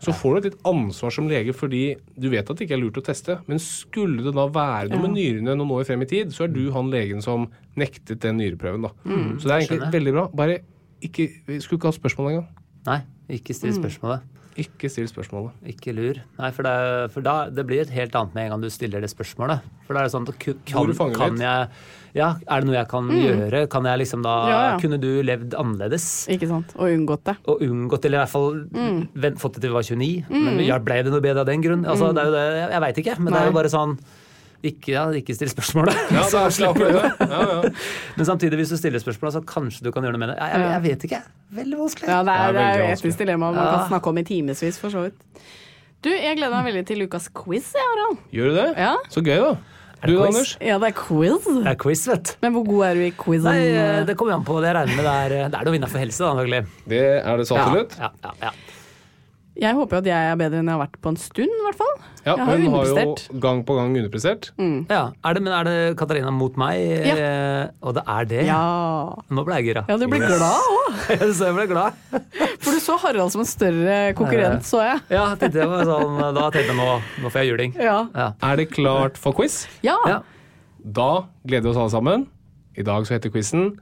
Speaker 3: så får du et litt ansvar som lege fordi du vet at det ikke er lurt å teste. Men skulle det da være noe med nyrene noen år frem i tid, så er du han legen som nektet den nyreprøven. Da. så det er egentlig veldig bra. Bare ikke, vi skulle ikke ha spørsmål engang.
Speaker 4: Nei, ikke still spørsmålet.
Speaker 3: Ikke still spørsmålet.
Speaker 4: Ikke lur. Nei, for, det, for da, det blir et helt annet med en gang du stiller det spørsmålet. For da er det sånn at ku-
Speaker 3: du
Speaker 4: kan,
Speaker 3: fanger litt.
Speaker 4: kan jeg Ja, er det noe jeg kan gjøre? Kan jeg liksom da
Speaker 2: Mm. Ja, ja.
Speaker 4: Kunne du levd annerledes?
Speaker 2: Ikke sant? Og unngått det.
Speaker 4: Og unngått, eller i hvert fall
Speaker 2: Mm.
Speaker 4: vent, fått det til vi var 29? Men ja, ble det noe bedre av den grunn? Altså, det er jo det, jeg, jeg veit ikke, men det er jo
Speaker 2: Nei.
Speaker 4: bare sånn ikke, ja, ikke still spørsmålet. Så slipper du det. Men samtidig, hvis du stiller spørsmålet, så kanskje du kan gjøre noe med det. Jeg, jeg, jeg vet ikke. Veldig vanskelig.
Speaker 2: Ja, det er, det
Speaker 3: veldig
Speaker 2: er jo
Speaker 3: vanskelig.
Speaker 2: etisk dilemma man
Speaker 4: Ja.
Speaker 2: kan snakke om i timevis, for så vidt. Du, jeg gleder meg veldig til ukas quiz, jeg, Harald.
Speaker 3: Gjør du det?
Speaker 2: Ja.
Speaker 3: Så gøy, da. Du da,
Speaker 4: quiz?
Speaker 3: Anders?
Speaker 2: Ja, det er quiz.
Speaker 4: Det er quiz, vet du.
Speaker 2: Men hvor god er du i quizen?
Speaker 4: Nei,
Speaker 2: Mm.
Speaker 4: eh, det kommer jo an på. Det jeg regner med det er, det er noe å vinne for helse, da, antagelig.
Speaker 3: Det er det så absolutt.
Speaker 4: Ja, ja, ja.
Speaker 2: Jeg håper jo at jeg er bedre enn jeg har vært på en stund, i hvert fall.
Speaker 3: Ja,
Speaker 2: jeg har
Speaker 3: hun
Speaker 2: jo
Speaker 3: har jo
Speaker 2: underprestert. Mm.
Speaker 3: gang på gang underprestert.
Speaker 4: Ja, er det, Men er det Katarina mot meg?
Speaker 2: Ja.
Speaker 4: Eh, og det er det?
Speaker 2: Ja.
Speaker 4: Nå ble jeg gira.
Speaker 2: Ah. ja, du blir glad òg.
Speaker 4: så jeg ble glad.
Speaker 2: For du så Harald som en større konkurrent, så jeg.
Speaker 4: Ja, tenkte jeg var sånn, Da tenkte jeg nå, nå får jeg juling.
Speaker 2: Ja.
Speaker 4: Ja.
Speaker 3: Er det klart for quiz?
Speaker 2: ja.
Speaker 4: Ja.
Speaker 3: Da gleder vi oss alle sammen. I dag så heter quizen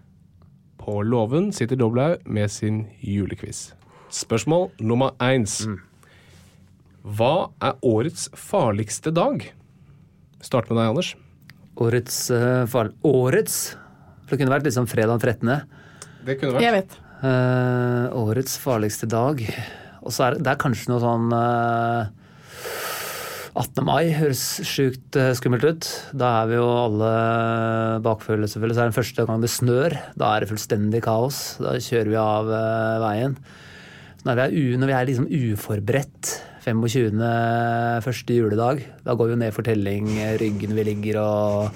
Speaker 3: På låven sitter Doblaug med sin julequiz. Spørsmål nummer eins. Hva er årets farligste dag? Start med deg, Anders.
Speaker 4: Årets eh, fall. Årets? For det kunne vært liksom fredag den 13.
Speaker 3: Det kunne
Speaker 2: Jeg
Speaker 3: vært.
Speaker 2: vet.
Speaker 4: Eh, årets farligste dag. Og så er det- det er kanskje noe sånn eh, 18. mai høres sjukt eh, skummelt ut. Da er vi jo alle bakfulle, selvfølgelig. Så er det den første gang det snør. Da er det fullstendig kaos. Da kjører vi av eh, veien. Så Når vi er, u, når vi er liksom uforberedt 25. første juledag, da går vi jo ned for telling, eh, ryggen vi ligger og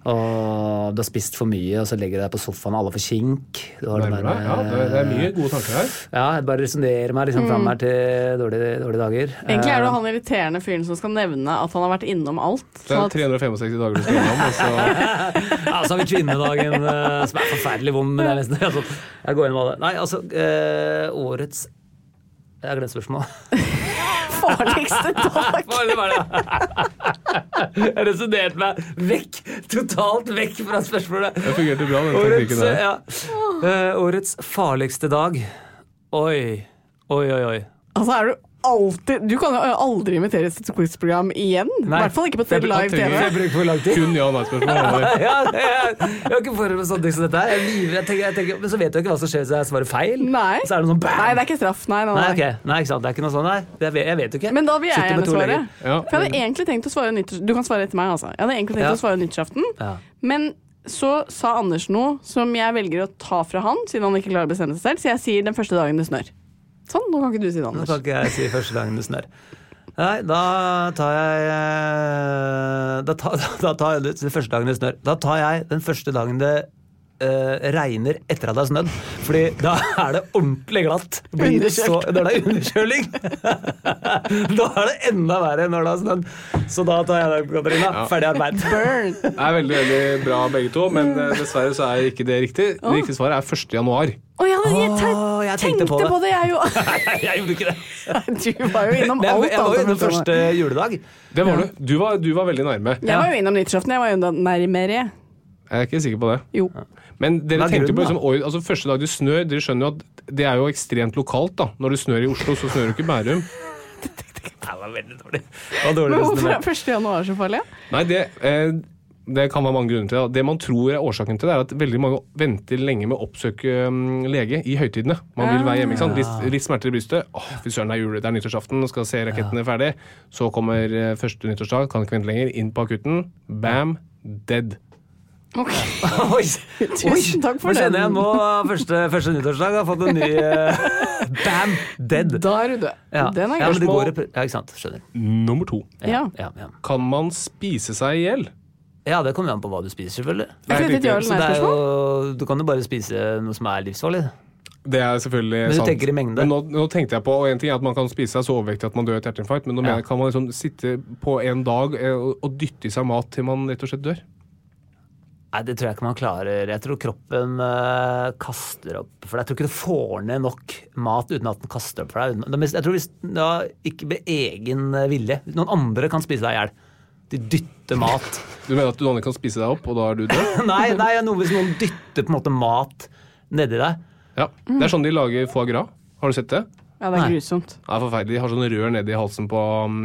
Speaker 4: og du har spist for mye, og så legger du deg på sofaen, alle får kink. Du har den eh,
Speaker 3: Nærmer deg. Ja, det, det er mye gode tanker her.
Speaker 4: ja, jeg bare resonnerer meg liksom fram her til dårlige, dårlige dager.
Speaker 2: Mm. Egentlig er du han irriterende fyren som skal nevne at han har vært innom alt.
Speaker 3: Eh. Det
Speaker 2: sånn
Speaker 3: er
Speaker 2: at-
Speaker 3: 365 dager du skal gjennom. og så-
Speaker 4: Ja, så har vi kvinnedagen, eh, som er forferdelig vond, men det er nesten altså, Jeg går gjennom alle. Nei, altså, eh, årets Jeg har glemt spørsmålet.
Speaker 2: farligste dag.
Speaker 4: Hva er det var det? Jeg resonnerte meg vekk, totalt vekk fra spørsmålet.
Speaker 3: Det fungerte bra, den
Speaker 4: Årets,
Speaker 3: teknikken der.
Speaker 4: ja. Eh, årets farligste dag. Oi. Oi, oi, oi.
Speaker 2: Altså er du alltid Du kan jo aldri inviteres til et quizprogram igjen. I hvert fall ikke på
Speaker 4: Jeg-
Speaker 2: live
Speaker 3: jeg
Speaker 2: TV.
Speaker 3: tenker-
Speaker 4: Jeg bruker for lang tid.
Speaker 3: Kun ja- og nei-spørsmål.
Speaker 4: ja, det er- jeg har ikke forberedt meg sånn som dette her. Jeg er livredd. Jeg tenker, jeg tenker, men så vet jeg ikke hva som skjer hvis jeg svarer feil.
Speaker 2: Nei.
Speaker 4: Så er det sånn bam!
Speaker 2: Nei, det er ikke straff. Nei, nei, nei.
Speaker 4: Nei, ok. Nei, ikke sant. Det er ikke noe sånn, nei. Jeg vet, jeg vet jo ikke.
Speaker 2: Men da vil jeg
Speaker 4: Sitter med
Speaker 2: gjerne
Speaker 4: to
Speaker 2: svare.
Speaker 4: legger.
Speaker 3: Ja.
Speaker 2: For jeg hadde egentlig tenkt å svare nyttårs... Du kan svare etter meg, altså. Jeg hadde egentlig tenkt
Speaker 4: Ja.
Speaker 2: å svare nyttårsaften,
Speaker 4: Ja.
Speaker 2: men så sa Anders noe som jeg velger å ta fra han, siden han ikke klarer å bestemme seg selv, så jeg sier den første dagen det snør. Sånn, nå kan ikke du si det,
Speaker 4: Nå
Speaker 2: Anders.
Speaker 4: kan ikke jeg si første gangen det snør. Nei, da tar jeg eh, Da tar, da tar jeg den første dagen det snør. Da tar jeg den første dagen det eh, regner etter at det har snødd. Fordi da er det ordentlig glatt. Blir det så, når det er underkjøling. da er det enda verre når det har snødd. Så da tar jeg den, Katarina. Ferdig arbeid.
Speaker 3: Det er veldig veldig bra begge to, men eh, dessverre så er ikke det riktig. Det riktige svaret er 1. januar.
Speaker 2: Å, jeg, hadde- jeg, te-
Speaker 4: Å, jeg
Speaker 2: tenkte på det, jeg jo.
Speaker 4: jeg gjorde ikke det.
Speaker 2: du var jo innom
Speaker 4: Men
Speaker 2: alt.
Speaker 4: jeg, jeg var jo
Speaker 2: annet enn
Speaker 4: innom
Speaker 2: første
Speaker 4: første juledag.
Speaker 3: Det var du. Du var, du var veldig nærme.
Speaker 2: Jeg var jo innom nyttårsaften. Jeg var jo nærmere.
Speaker 3: Jeg er ikke sikker på det.
Speaker 2: Jo.
Speaker 3: Men dere
Speaker 4: Hva er
Speaker 3: tenkte på
Speaker 4: grunnen,
Speaker 3: liksom, oi, altså, første dag det snør, dere skjønner jo at det er jo ekstremt lokalt. da. Når det snør i Oslo, så snør det jo ikke i Bærum.
Speaker 4: Det var veldig dårlig. Det var dårlig
Speaker 2: Men hvorfor
Speaker 4: resonert.
Speaker 2: er 1. januar så farlig?
Speaker 3: Nei, det, eh, det kan være mange grunner til det. Det man tror er årsaken til det, er at veldig mange venter lenge med å oppsøke mm, lege i høytidene. Man vil være hjemme, ikke sant?
Speaker 2: Ah.
Speaker 3: Litt, litt smerter i brystet. Åh, fy søren, det er jul, det er nyttårsaften, nå skal jeg se rakettene ferdig. Så kommer eh, første nyttårsdag, kan ikke vente lenger, inn på akutten. Bam, dead.
Speaker 4: Oi.
Speaker 2: Tusen takk for
Speaker 4: Nå kjenner jeg
Speaker 2: den.
Speaker 4: nå eh, første, første nyttårsdag har fått en ny eh, Bam! Dead.
Speaker 2: Da er du død.
Speaker 4: Ja.
Speaker 2: Den er
Speaker 4: ja, men
Speaker 2: grei.
Speaker 4: det går, i pr- ja, ikke sant. Skjønner.
Speaker 3: Nummer to.
Speaker 2: Ja.
Speaker 4: Ja, ja.
Speaker 3: Kan man spise seg i hjel?
Speaker 4: ja, det kommer jo an på hva du spiser, selvfølgelig.
Speaker 2: Jeg
Speaker 3: Nei,
Speaker 2: tror det er et
Speaker 3: riktig.
Speaker 2: ja eller
Speaker 4: Så det er
Speaker 2: nei-spørsmål.
Speaker 4: jo, du kan jo bare spise noe som er livsfarlig.
Speaker 3: Det er selvfølgelig
Speaker 4: Men du
Speaker 3: sant.
Speaker 4: tenker i mengde.
Speaker 3: Men nå, nå tenkte jeg på, og en ting er at Man kan spise seg så overvektig at man dør av et hjerteinfarkt, men nå mener jeg kan man liksom sitte på en dag eh, og, og dytte i seg mat til man rett og slett dør?
Speaker 4: Nei, Det tror jeg ikke man klarer. Jeg tror kroppen eh, kaster opp. For jeg tror ikke du får ned nok mat uten at den kaster opp for deg. Uten- Men Jeg tror hvis ja, Ikke med egen vilje. Noen andre kan spise deg i hjel. De dytter mat.
Speaker 3: Du mener at du aldri kan spise deg opp, og da er du død?
Speaker 4: nei, nei, noe hvis noen dytter på en måte mat nedi deg.
Speaker 3: Ja. Det er sånn de lager foie gras. Har du sett det? Det
Speaker 2: Ja, det er grusomt.
Speaker 3: er forferdelig. De har sånn rør nedi halsen på um,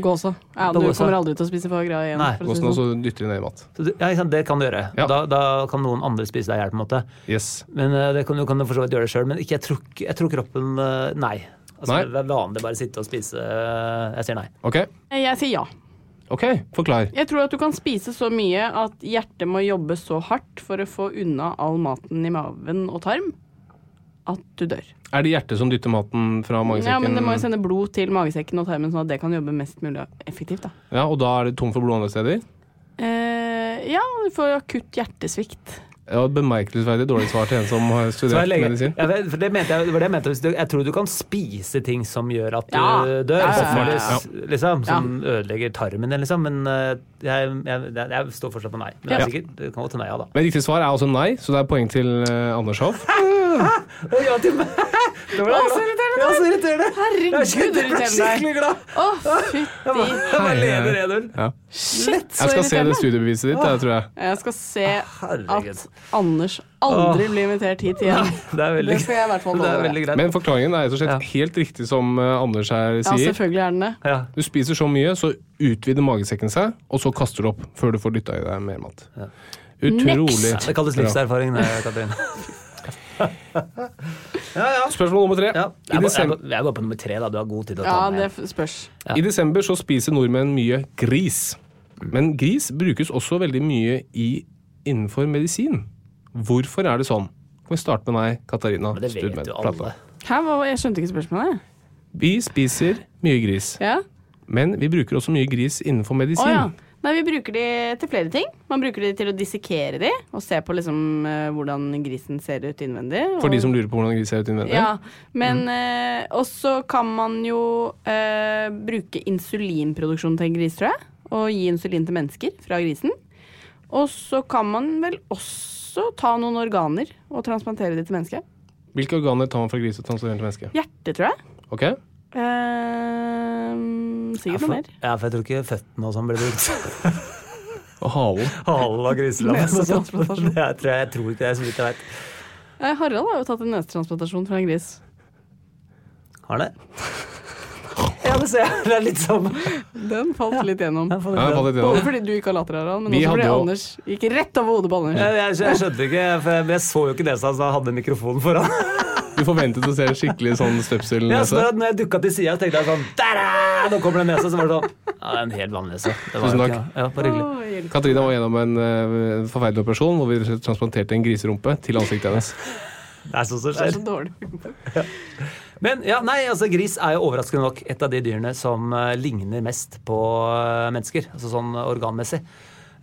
Speaker 2: Gåsa. Ja, du
Speaker 4: Gåsa.
Speaker 2: kommer aldri til å spise foie gras igjen.
Speaker 4: Nei,
Speaker 2: for å si det
Speaker 3: gåsen, og
Speaker 2: sånn.
Speaker 3: så dytter de ned i mat.
Speaker 4: Så du, ja, ikke sant, Det kan du gjøre.
Speaker 3: Ja.
Speaker 4: Da, da kan noen andre spise deg i hjel, på en måte.
Speaker 3: Yes.
Speaker 4: Men eh, det kan, Du kan jo for så vidt gjøre det sjøl, men ikke, jeg, tror, ikke- jeg tror kroppen eh, Nei. Altså,
Speaker 3: Nei.
Speaker 4: Det er vanlig bare å sitte og spise eh, Jeg sier nei.
Speaker 3: OK,
Speaker 2: Jeg sier ja.
Speaker 3: Ok, forklar.
Speaker 2: Jeg tror at du kan spise så mye at hjertet må jobbe så hardt for å få unna all maten i maven og tarm at du dør.
Speaker 3: Er det hjertet som dytter maten fra magesekken?
Speaker 2: Ja, men det må jo sende blod til magesekken og tarmen, sånn at det kan jobbe mest mulig effektivt. Da.
Speaker 3: Ja, Og da er det tom for blod andre steder?
Speaker 2: Eh, ja, du får akutt hjertesvikt.
Speaker 3: Det var et bemerkelsesverdig dårlig svar til en som har
Speaker 4: Så jeg
Speaker 3: studert
Speaker 4: legger-
Speaker 3: medisin.
Speaker 4: Ja, det, for det mente jeg, det var det jeg mente. Hvis du- Jeg tror du kan spise ting som gjør at du
Speaker 2: Ja. Ja, ja,
Speaker 4: dør.
Speaker 2: ja,
Speaker 3: ja.
Speaker 4: Selvfølgelig, Liksom, som ødelegger tarmen din, liksom. Men eh, jeg, jeg, jeg, jeg står fortsatt på nei. Men jeg
Speaker 3: Ja.
Speaker 4: er sikker. Det kan gå til nei, ja da.
Speaker 3: Men riktig svar er altså nei, så det er poeng til eh, Anders Hoff.
Speaker 4: Ja, til meg! Det var
Speaker 2: Å, så irriterende.
Speaker 4: Ja, så irriterende!
Speaker 2: Herregud,
Speaker 4: Jeg kjente jeg ble
Speaker 2: irriterende.
Speaker 4: skikkelig glad.
Speaker 2: Å, fytti
Speaker 4: Jeg bare leder 1-0.
Speaker 3: Ja.
Speaker 2: shit, så
Speaker 3: Jeg skal se det
Speaker 2: irriterende.
Speaker 3: studiebeviset ditt, jeg tror jeg.
Speaker 2: Jeg skal se
Speaker 4: Herregud.
Speaker 2: at Anders aldri blir invitert hit igjen.
Speaker 4: Det er veldig,
Speaker 2: Det skal jeg i hvert fall
Speaker 4: det er
Speaker 2: love.
Speaker 4: veldig greit.
Speaker 3: Men forklaringen er rett og slett
Speaker 4: Ja.
Speaker 3: helt riktig som eh, Anders her
Speaker 2: Ja,
Speaker 3: sier.
Speaker 2: selvfølgelig er den det.
Speaker 4: ja.
Speaker 3: Du spiser så mye, så utvider magesekken seg, og så kaster du opp før du får dytta i deg mer mat. Utrolig.
Speaker 4: Ja, Det kalles livserfaring, det, Katrin. Ja, ja.
Speaker 3: Bra. Spørsmål nummer tre.
Speaker 4: ja.
Speaker 3: I,
Speaker 4: Jeg, går, jeg,
Speaker 3: desember,
Speaker 4: går, jeg går på nummer tre, da. Du har god tid til å
Speaker 2: Ja,
Speaker 4: ta
Speaker 2: det
Speaker 4: den.
Speaker 2: f- spørs.
Speaker 3: I desember så spiser nordmenn mye gris. Men gris brukes også veldig mye i, innenfor medisin. Hvorfor er det sånn? Kan vi starte med deg, Katarina?
Speaker 4: Men det vet
Speaker 3: Studmed
Speaker 4: jo
Speaker 3: Platland.
Speaker 4: alle.
Speaker 2: Hæ, hva, jeg skjønte ikke spørsmålet.
Speaker 3: Vi spiser mye gris,
Speaker 2: Ja?
Speaker 3: men vi bruker også mye gris innenfor
Speaker 2: Å
Speaker 3: medisin.
Speaker 2: ja. Nei, vi bruker de til flere ting. Man bruker de til å dissekere de, og se på liksom eh, hvordan grisen ser ut innvendig. Og,
Speaker 3: For de som lurer på hvordan gris ser ut innvendig.
Speaker 2: Ja, men eh, også kan man jo eh, bruke insulinproduksjon til en gris, tror jeg. Og gi insulin til mennesker fra grisen. Og så kan man vel også ta noen organer og transplantere de til mennesket.
Speaker 3: Hvilke organer tar man fra gris og transporterer til menneske?
Speaker 2: Hjerte, tror jeg.
Speaker 3: Ok?
Speaker 2: Eh,
Speaker 4: Ja,
Speaker 2: sikkert
Speaker 4: for,
Speaker 2: noe mer.
Speaker 4: ja, for jeg tror ikke føttene og sånn blir brukt.
Speaker 3: Og halen.
Speaker 4: Halen av griselammen. og sånt.
Speaker 2: Nesetransplantasjon.
Speaker 4: Det er- tror jeg, jeg tror ikke det er så vidt jeg vet.
Speaker 2: Eh, Harald har jo tatt en nesetransplantasjon fra en gris.
Speaker 4: Har det? Ja, det ser jeg. Det er litt sånn. samme.
Speaker 2: Den falt litt gjennom.
Speaker 4: Jeg,
Speaker 3: Ja, jeg falt litt
Speaker 2: Både
Speaker 3: gjennom.
Speaker 2: fordi du ikke har latter, Harald, men
Speaker 3: Vi
Speaker 2: også fordi
Speaker 3: hadde jo-
Speaker 2: Anders gikk rett over hodet på Anders.
Speaker 4: jeg, jeg, jeg skjønte ikke, for jeg, jeg så jo ikke nesa hans da jeg hadde mikrofonen foran.
Speaker 3: Du forventet å se en skikkelig sånn støpsel
Speaker 4: Ja, så
Speaker 3: nese.
Speaker 4: da når jeg dukka til sida, tenkte jeg sånn «Tada! Nå kommer det nesa. Så var det sånn Ja, det er en helt vanlig nese. Det var
Speaker 3: Tusen
Speaker 4: jo
Speaker 3: takk.
Speaker 4: ikke- Ja, bare hyggelig.
Speaker 2: Å, hjelp.
Speaker 3: Katrina var gjennom en eh, forferdelig operasjon hvor vi rett og slett transplanterte en griserumpe til ansiktet hennes.
Speaker 4: Det er sånn som
Speaker 2: Det er
Speaker 4: skjer.
Speaker 2: så dårlig.
Speaker 4: Men ja, nei, altså gris er jo overraskende nok et av de dyrene som eh, ligner mest på eh, mennesker, altså sånn organmessig.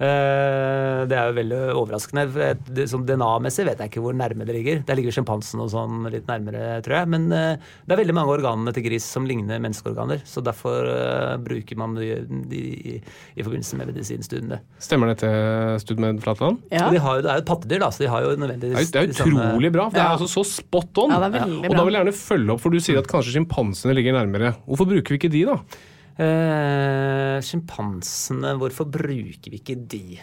Speaker 4: Eh, det er jo veldig overraskende. for jeg- det- Sånn DNA-messig vet jeg ikke hvor nærme det ligger. Der ligger sjimpansen og sånn litt nærmere, tror jeg. Men eh, det er veldig mange av organene til gris som ligner menneskeorganer, så derfor eh, bruker man de, de i, i forbindelse med medisinstudiene.
Speaker 3: Stemmer dette, Studmed Flatland?
Speaker 2: Ja.
Speaker 4: Og de har jo, det er jo et pattedyr, da, så de har jo
Speaker 3: Det er,
Speaker 4: nødvendigvis
Speaker 3: det er
Speaker 4: de samme-
Speaker 3: utrolig bra. for Det er
Speaker 2: Ja.
Speaker 3: altså så spot on.
Speaker 2: Ja, det er veldig
Speaker 3: Og da
Speaker 2: bra.
Speaker 3: vil jeg gjerne følge opp, for du sier at kanskje sjimpansene ligger nærmere. Hvorfor bruker vi ikke de, da?
Speaker 4: Eh, Sjimpansene, hvorfor bruker vi ikke de?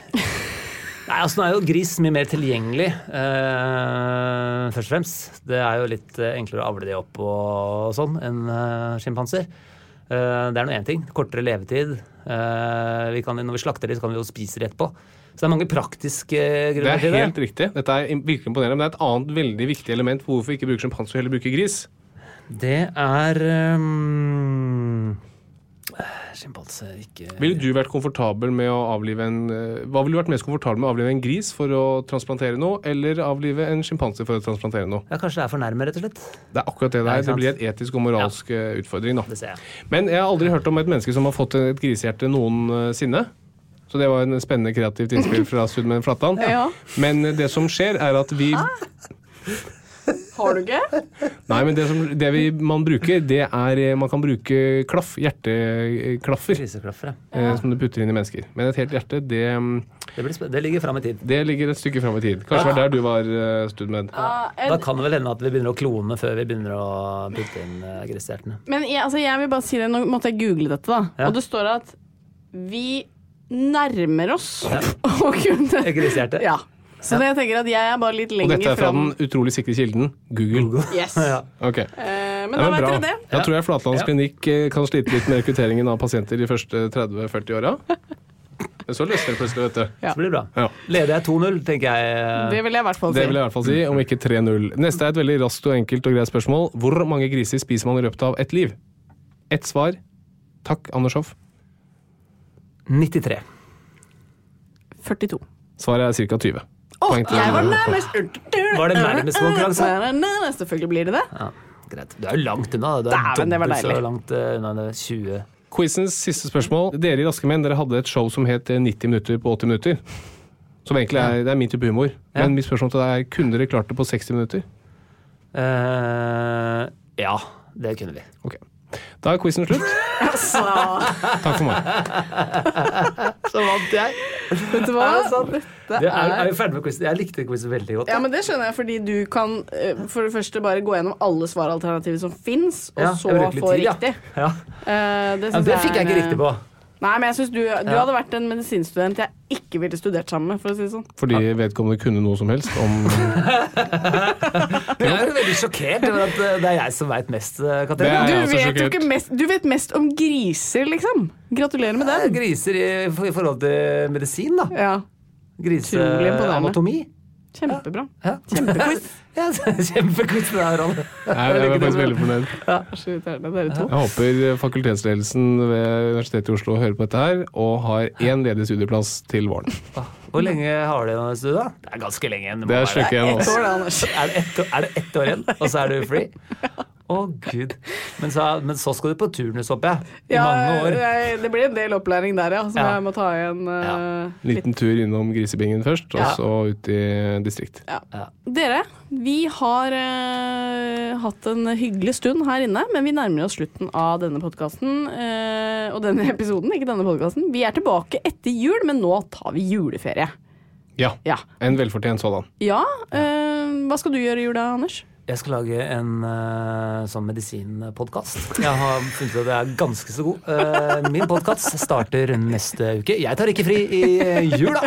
Speaker 4: Nei, altså Nå er jo gris mye mer tilgjengelig, eh, først og fremst. Det er jo litt eh, enklere å avle de opp og sånn enn eh, sjimpanser. Eh, det er nå én ting. Kortere levetid. Eh, vi kan, når vi slakter de, så kan vi jo spise de etterpå. Så det er mange praktiske eh,
Speaker 3: Det
Speaker 4: grunner
Speaker 3: er
Speaker 4: til det.
Speaker 3: helt riktig. Dette er im- virkelig imponerende, men det er et annet veldig viktig element for hvorfor vi ikke bruker sjimpanse og heller bruker gris.
Speaker 4: Det er eh, um, Sjimpanse ikke
Speaker 3: Ville du vært komfortabel med å avlive en eh, Hva ville du vært mest komfortabel med å avlive en gris for å transplantere noe, eller avlive en sjimpanse for å transplantere noe?
Speaker 4: Ja, Kanskje det er for nærme, rett og slett.
Speaker 3: Det er akkurat det
Speaker 4: Ja,
Speaker 3: det er.
Speaker 4: ikke
Speaker 3: Det
Speaker 4: sant?
Speaker 3: blir et etisk og moralsk eh, utfordring, da.
Speaker 4: Det ser jeg.
Speaker 3: Men jeg har aldri hørt om et menneske som har fått et grisehjerte noensinne. Så det var en spennende kreativt innspill fra Studmen Flatland.
Speaker 2: Ja.
Speaker 3: Men det som skjer, er at vi
Speaker 2: Har du ikke?
Speaker 3: Nei, men det, som, det vi, man bruker, det er eh, Man kan bruke klaff, hjerteklaffer,
Speaker 4: Griseklaffer, ja.
Speaker 3: eh, som du putter inn i mennesker. Men et helt hjerte, det, mm,
Speaker 4: Det, blir spen- det ligger fram i tid.
Speaker 3: det ligger et stykke fram i tid. Kanskje det var der du var, eh, Studmed.
Speaker 2: Ja,
Speaker 4: Da
Speaker 2: jeg,
Speaker 4: kan det vel hende at vi begynner å klone før vi begynner å putte inn eh, grishjertene.
Speaker 2: men jeg, altså, jeg vil bare si det, nå måtte jeg google dette, da.
Speaker 4: Ja.
Speaker 2: Og det står at vi nærmer oss å kunne
Speaker 4: Et grishjerte.
Speaker 2: Ja. Så det, jeg tenker at jeg er bare litt
Speaker 3: Og
Speaker 2: lenger
Speaker 3: dette er fra
Speaker 2: fram.
Speaker 3: den utrolig sikre kilden Google.
Speaker 2: Yes.
Speaker 4: Ja.
Speaker 3: Ok.
Speaker 2: Eh, men da
Speaker 3: Ja, men
Speaker 2: vet
Speaker 3: bra.
Speaker 2: dere det.
Speaker 3: Da tror jeg Flatlands
Speaker 4: Ja.
Speaker 3: klinikk eh, kan slite litt med rekrutteringen av pasienter de første 30-40 åra. Men så løsner det plutselig, vet du.
Speaker 2: Ja.
Speaker 4: Så blir det bra.
Speaker 3: Ja.
Speaker 4: Leder jeg 2-0, tenker jeg. eh,
Speaker 2: Det vil jeg i hvert fall si.
Speaker 3: Det vil jeg i hvert fall si, om ikke 3-0. Neste er et veldig raskt og enkelt og greit spørsmål. Hvor mange griser spiser man i løpet av et liv? Ett svar. Takk, Anders Hoff.
Speaker 4: 93.
Speaker 2: 42.
Speaker 3: Svaret er ca. 20.
Speaker 2: Å,
Speaker 3: Poeng til-
Speaker 2: jeg var nærmest!
Speaker 4: Var det nærmeste konkurranse?
Speaker 2: Nei, Selvfølgelig blir det det.
Speaker 4: Ja, greit. Du er jo langt unna. da. Du er
Speaker 2: Dæven, det var
Speaker 4: dobbelt
Speaker 2: deilig.
Speaker 4: så langt eh, unna det 20.
Speaker 3: eh, Quizens siste spørsmål. Dere i Raske menn dere hadde et show som het 90 minutter på 80 minutter. Som egentlig er, det er min type humor.
Speaker 4: Ja.
Speaker 3: Men mitt spørsmål til deg er kunne dere klart det på 60 minutter?
Speaker 4: Eh, ja, det kunne vi.
Speaker 3: Ok. Da er quizen slutt. Takk for meg.
Speaker 4: Så vant jeg.
Speaker 2: Vet du hva? Dette
Speaker 4: Det er, er vi ferdig med quizen? Jeg likte quizen veldig godt.
Speaker 2: Altså, Ja, men Det skjønner jeg, fordi du kan eh, for det første bare gå gjennom alle svaralternativer som fins, og
Speaker 4: Ja,
Speaker 2: så
Speaker 4: jeg bruker litt
Speaker 2: få
Speaker 4: tid, ja.
Speaker 2: riktig.
Speaker 4: Ja.
Speaker 2: Eh, det,
Speaker 4: Ja,
Speaker 2: synes
Speaker 4: det fikk jeg
Speaker 2: er
Speaker 4: ikke
Speaker 2: en,
Speaker 4: riktig på.
Speaker 2: Nei, men jeg synes du, du
Speaker 4: Ja.
Speaker 2: hadde vært en medisinstudent jeg ikke ville studert sammen med. for å si det sånn.
Speaker 3: Fordi vedkommende kunne noe som helst om
Speaker 4: Men jeg er veldig sjokkert over at eh, det er jeg som veit mest, eh,
Speaker 3: Det
Speaker 4: Katrine.
Speaker 3: er-
Speaker 2: Du
Speaker 3: jeg også
Speaker 2: vet jo
Speaker 3: sjokkert.
Speaker 2: ikke mest, du vet mest om griser, liksom. Gratulerer med
Speaker 4: Det er
Speaker 2: den.
Speaker 4: Griser i, i forhold til medisin, da.
Speaker 2: Ja, Utrolig imponerende.
Speaker 4: Griseanatomi.
Speaker 2: Kjempebra.
Speaker 4: Ja. Kjempequiz. ja, kjempequiz det her, Anne.
Speaker 3: Nei, Jeg er faktisk veldig fornøyd.
Speaker 2: Så irriterende, dere to.
Speaker 3: Jeg håper fakultetsledelsen ved Universitetet i Oslo hører på dette her, og har én ledig studieplass til våren.
Speaker 4: Hvor lenge har du igjen av studiet? da? Det er ganske lenge igjen. må
Speaker 3: Det er
Speaker 4: være
Speaker 3: sløkke igjen,
Speaker 2: Ett
Speaker 3: altså.
Speaker 2: år, da, Anders.
Speaker 4: Er det, ett, år- er det ett år igjen, og så er du free? Å, gud. Men så, men så skal du på turnus, håper jeg. I
Speaker 2: Ja,
Speaker 4: mange år.
Speaker 2: jeg- det blir en del opplæring der, ja. Som
Speaker 4: Ja.
Speaker 2: jeg må ta igjen. eh,
Speaker 4: Ja.
Speaker 2: litt.
Speaker 3: Liten tur innom grisebingen først, og
Speaker 4: Ja.
Speaker 3: så ut i distrikt.
Speaker 2: Ja.
Speaker 4: Ja.
Speaker 2: Dere, vi har eh, hatt en hyggelig stund her inne, men vi nærmer oss slutten av denne podkasten. og denne episoden, ikke denne podkasten. Vi er tilbake etter jul, men nå tar vi juleferie.
Speaker 3: Ja.
Speaker 2: Ja.
Speaker 3: En velfortjent sådan.
Speaker 2: ja eh, hva skal du gjøre i jula, Anders?
Speaker 4: Jeg skal lage en eh, sånn medisinpodkast. Jeg har funnet ut at jeg er ganske så god. Eh, min podkast starter neste uke. Jeg tar ikke fri i eh, jula!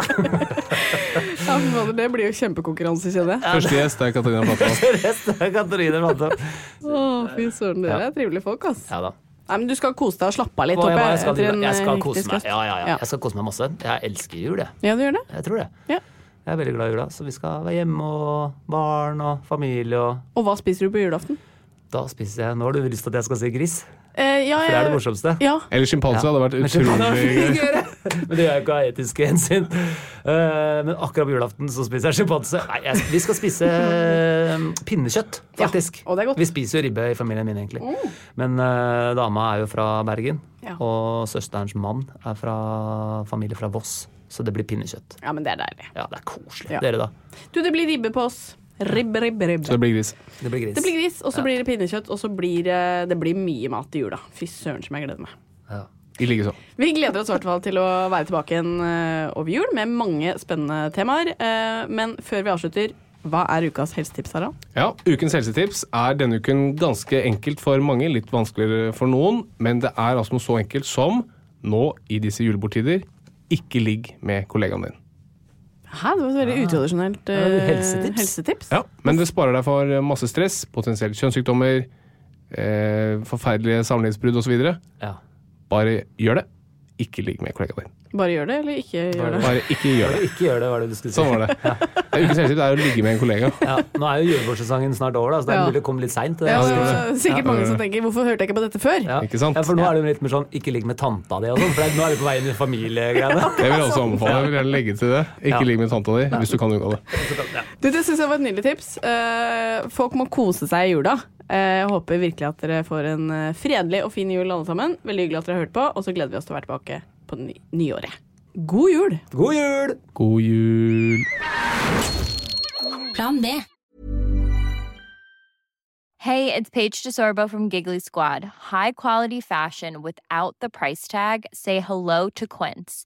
Speaker 2: Ja, fy fader, det blir jo kjempekonkurranse, kjenner jeg.
Speaker 3: Første gjest er Katarina Platland.
Speaker 4: Resten er Katrine Brandtov.
Speaker 2: Å, fy søren, dere er trivelige folk, ass.
Speaker 4: Ja da.
Speaker 2: Nei, men du skal kose deg og slappe av litt.
Speaker 4: Og jeg,
Speaker 2: håper
Speaker 4: jeg, skal,
Speaker 2: etter en,
Speaker 4: jeg
Speaker 2: eh,
Speaker 4: skal
Speaker 2: hektisk
Speaker 4: kose meg.
Speaker 2: høst.
Speaker 4: Ja, ja, ja.
Speaker 2: Ja.
Speaker 4: Jeg skal kose meg masse. Jeg elsker jul, jeg.
Speaker 2: Ja, du gjør det?
Speaker 4: Jeg tror det.
Speaker 2: Ja.
Speaker 4: Jeg er veldig glad i jula, så vi skal være hjemme og barn og familie og
Speaker 2: Og hva spiser du på julaften?
Speaker 4: Da spiser jeg Nå har du lyst til at jeg skal si gris,
Speaker 2: Eh, ja,
Speaker 4: for det er det
Speaker 2: jeg-
Speaker 4: morsomste.
Speaker 2: Ja.
Speaker 3: Eller sjimpanse hadde vært utrolig gøy.
Speaker 4: Men det gjør jeg ikke av etiske hensyn. Eh, Men akkurat på julaften så spiser jeg sjimpanse. Nei, jeg, vi skal spise eh, pinnekjøtt, faktisk.
Speaker 2: og det er godt. Mm.
Speaker 4: Vi spiser jo ribbe i familien min, egentlig. Men eh, dama er jo fra Bergen,
Speaker 2: Ja.
Speaker 4: og søsterens mann er fra familie fra Voss. Så det blir pinnekjøtt.
Speaker 2: ja, men det er deilig.
Speaker 4: Ja, det er koselig.
Speaker 2: Ja.
Speaker 4: Dere, da?
Speaker 2: Du, det blir ribbe på oss. Ribbe, ribbe, ribbe.
Speaker 3: Så det blir gris.
Speaker 4: Det blir gris.
Speaker 2: Det blir gris, og så blir det pinnekjøtt, og så blir det, det blir mye mat i jula. Fy søren som jeg gleder meg.
Speaker 4: Ja.
Speaker 3: I likeså.
Speaker 2: Vi gleder oss i hvert fall til å være tilbake igjen eh, over jul med mange spennende temaer. Eh, Men før vi avslutter, hva er ukas helsetips, Harald?
Speaker 3: Ja, Ukens helsetips er denne uken ganske enkelt for mange, litt vanskeligere for noen. Men det er altså noe så enkelt som nå i disse julebordtider ikke ligg med kollegaen din.
Speaker 2: Hæ, det var et veldig utradisjonelt eh,
Speaker 4: helsetips.
Speaker 2: helsetips.
Speaker 3: Ja, Men det sparer deg for masse stress, potensielt kjønnssykdommer, eh, forferdelige samlivsbrudd osv.
Speaker 4: Ja.
Speaker 3: Bare gjør det. Ikke ligg med kollegaen din.
Speaker 2: Bare gjør det, eller ikke gjør det.
Speaker 3: Bare ikke gjør det.
Speaker 4: Ikke gjør det, var det du skulle si.
Speaker 3: Sånn var det. Ja, Ukens helsetips er å ligge med en kollega.
Speaker 4: Ja, nå er jo julebordsesongen snart over, da, så det er
Speaker 2: Ja.
Speaker 4: mulig å komme litt seint.
Speaker 2: Ja, det var sikkert mange som tenker 'hvorfor hørte jeg ikke på dette før'?
Speaker 4: Ja.
Speaker 3: Ikke sant?
Speaker 4: Ja, for nå er det jo litt mer sånn ikke ligg med tanta di og sånn, for det er- nå er du på vei inn i familiegreiene.
Speaker 3: Jeg vil også anbefale jeg vil gjerne legge til det. Ikke
Speaker 4: Ja.
Speaker 3: ligg med tanta di hvis du kan unngå det.
Speaker 2: Du, det syns jeg var et nydelig tips. Eh, folk må kose seg i jula. Eh, jeg håper virkelig at dere får en eh, fredelig og fin jul, alle sammen. Veldig hyggelig at dere har hørt på, og så gleder vi oss til å være tilbake på det ny nyåret. God jul!
Speaker 4: God jul!
Speaker 3: God jul.
Speaker 5: Plan B.
Speaker 6: Hey, it's Paige DeSorbo from Giggly Squad. High quality fashion without the price tag. Say hello to Quince.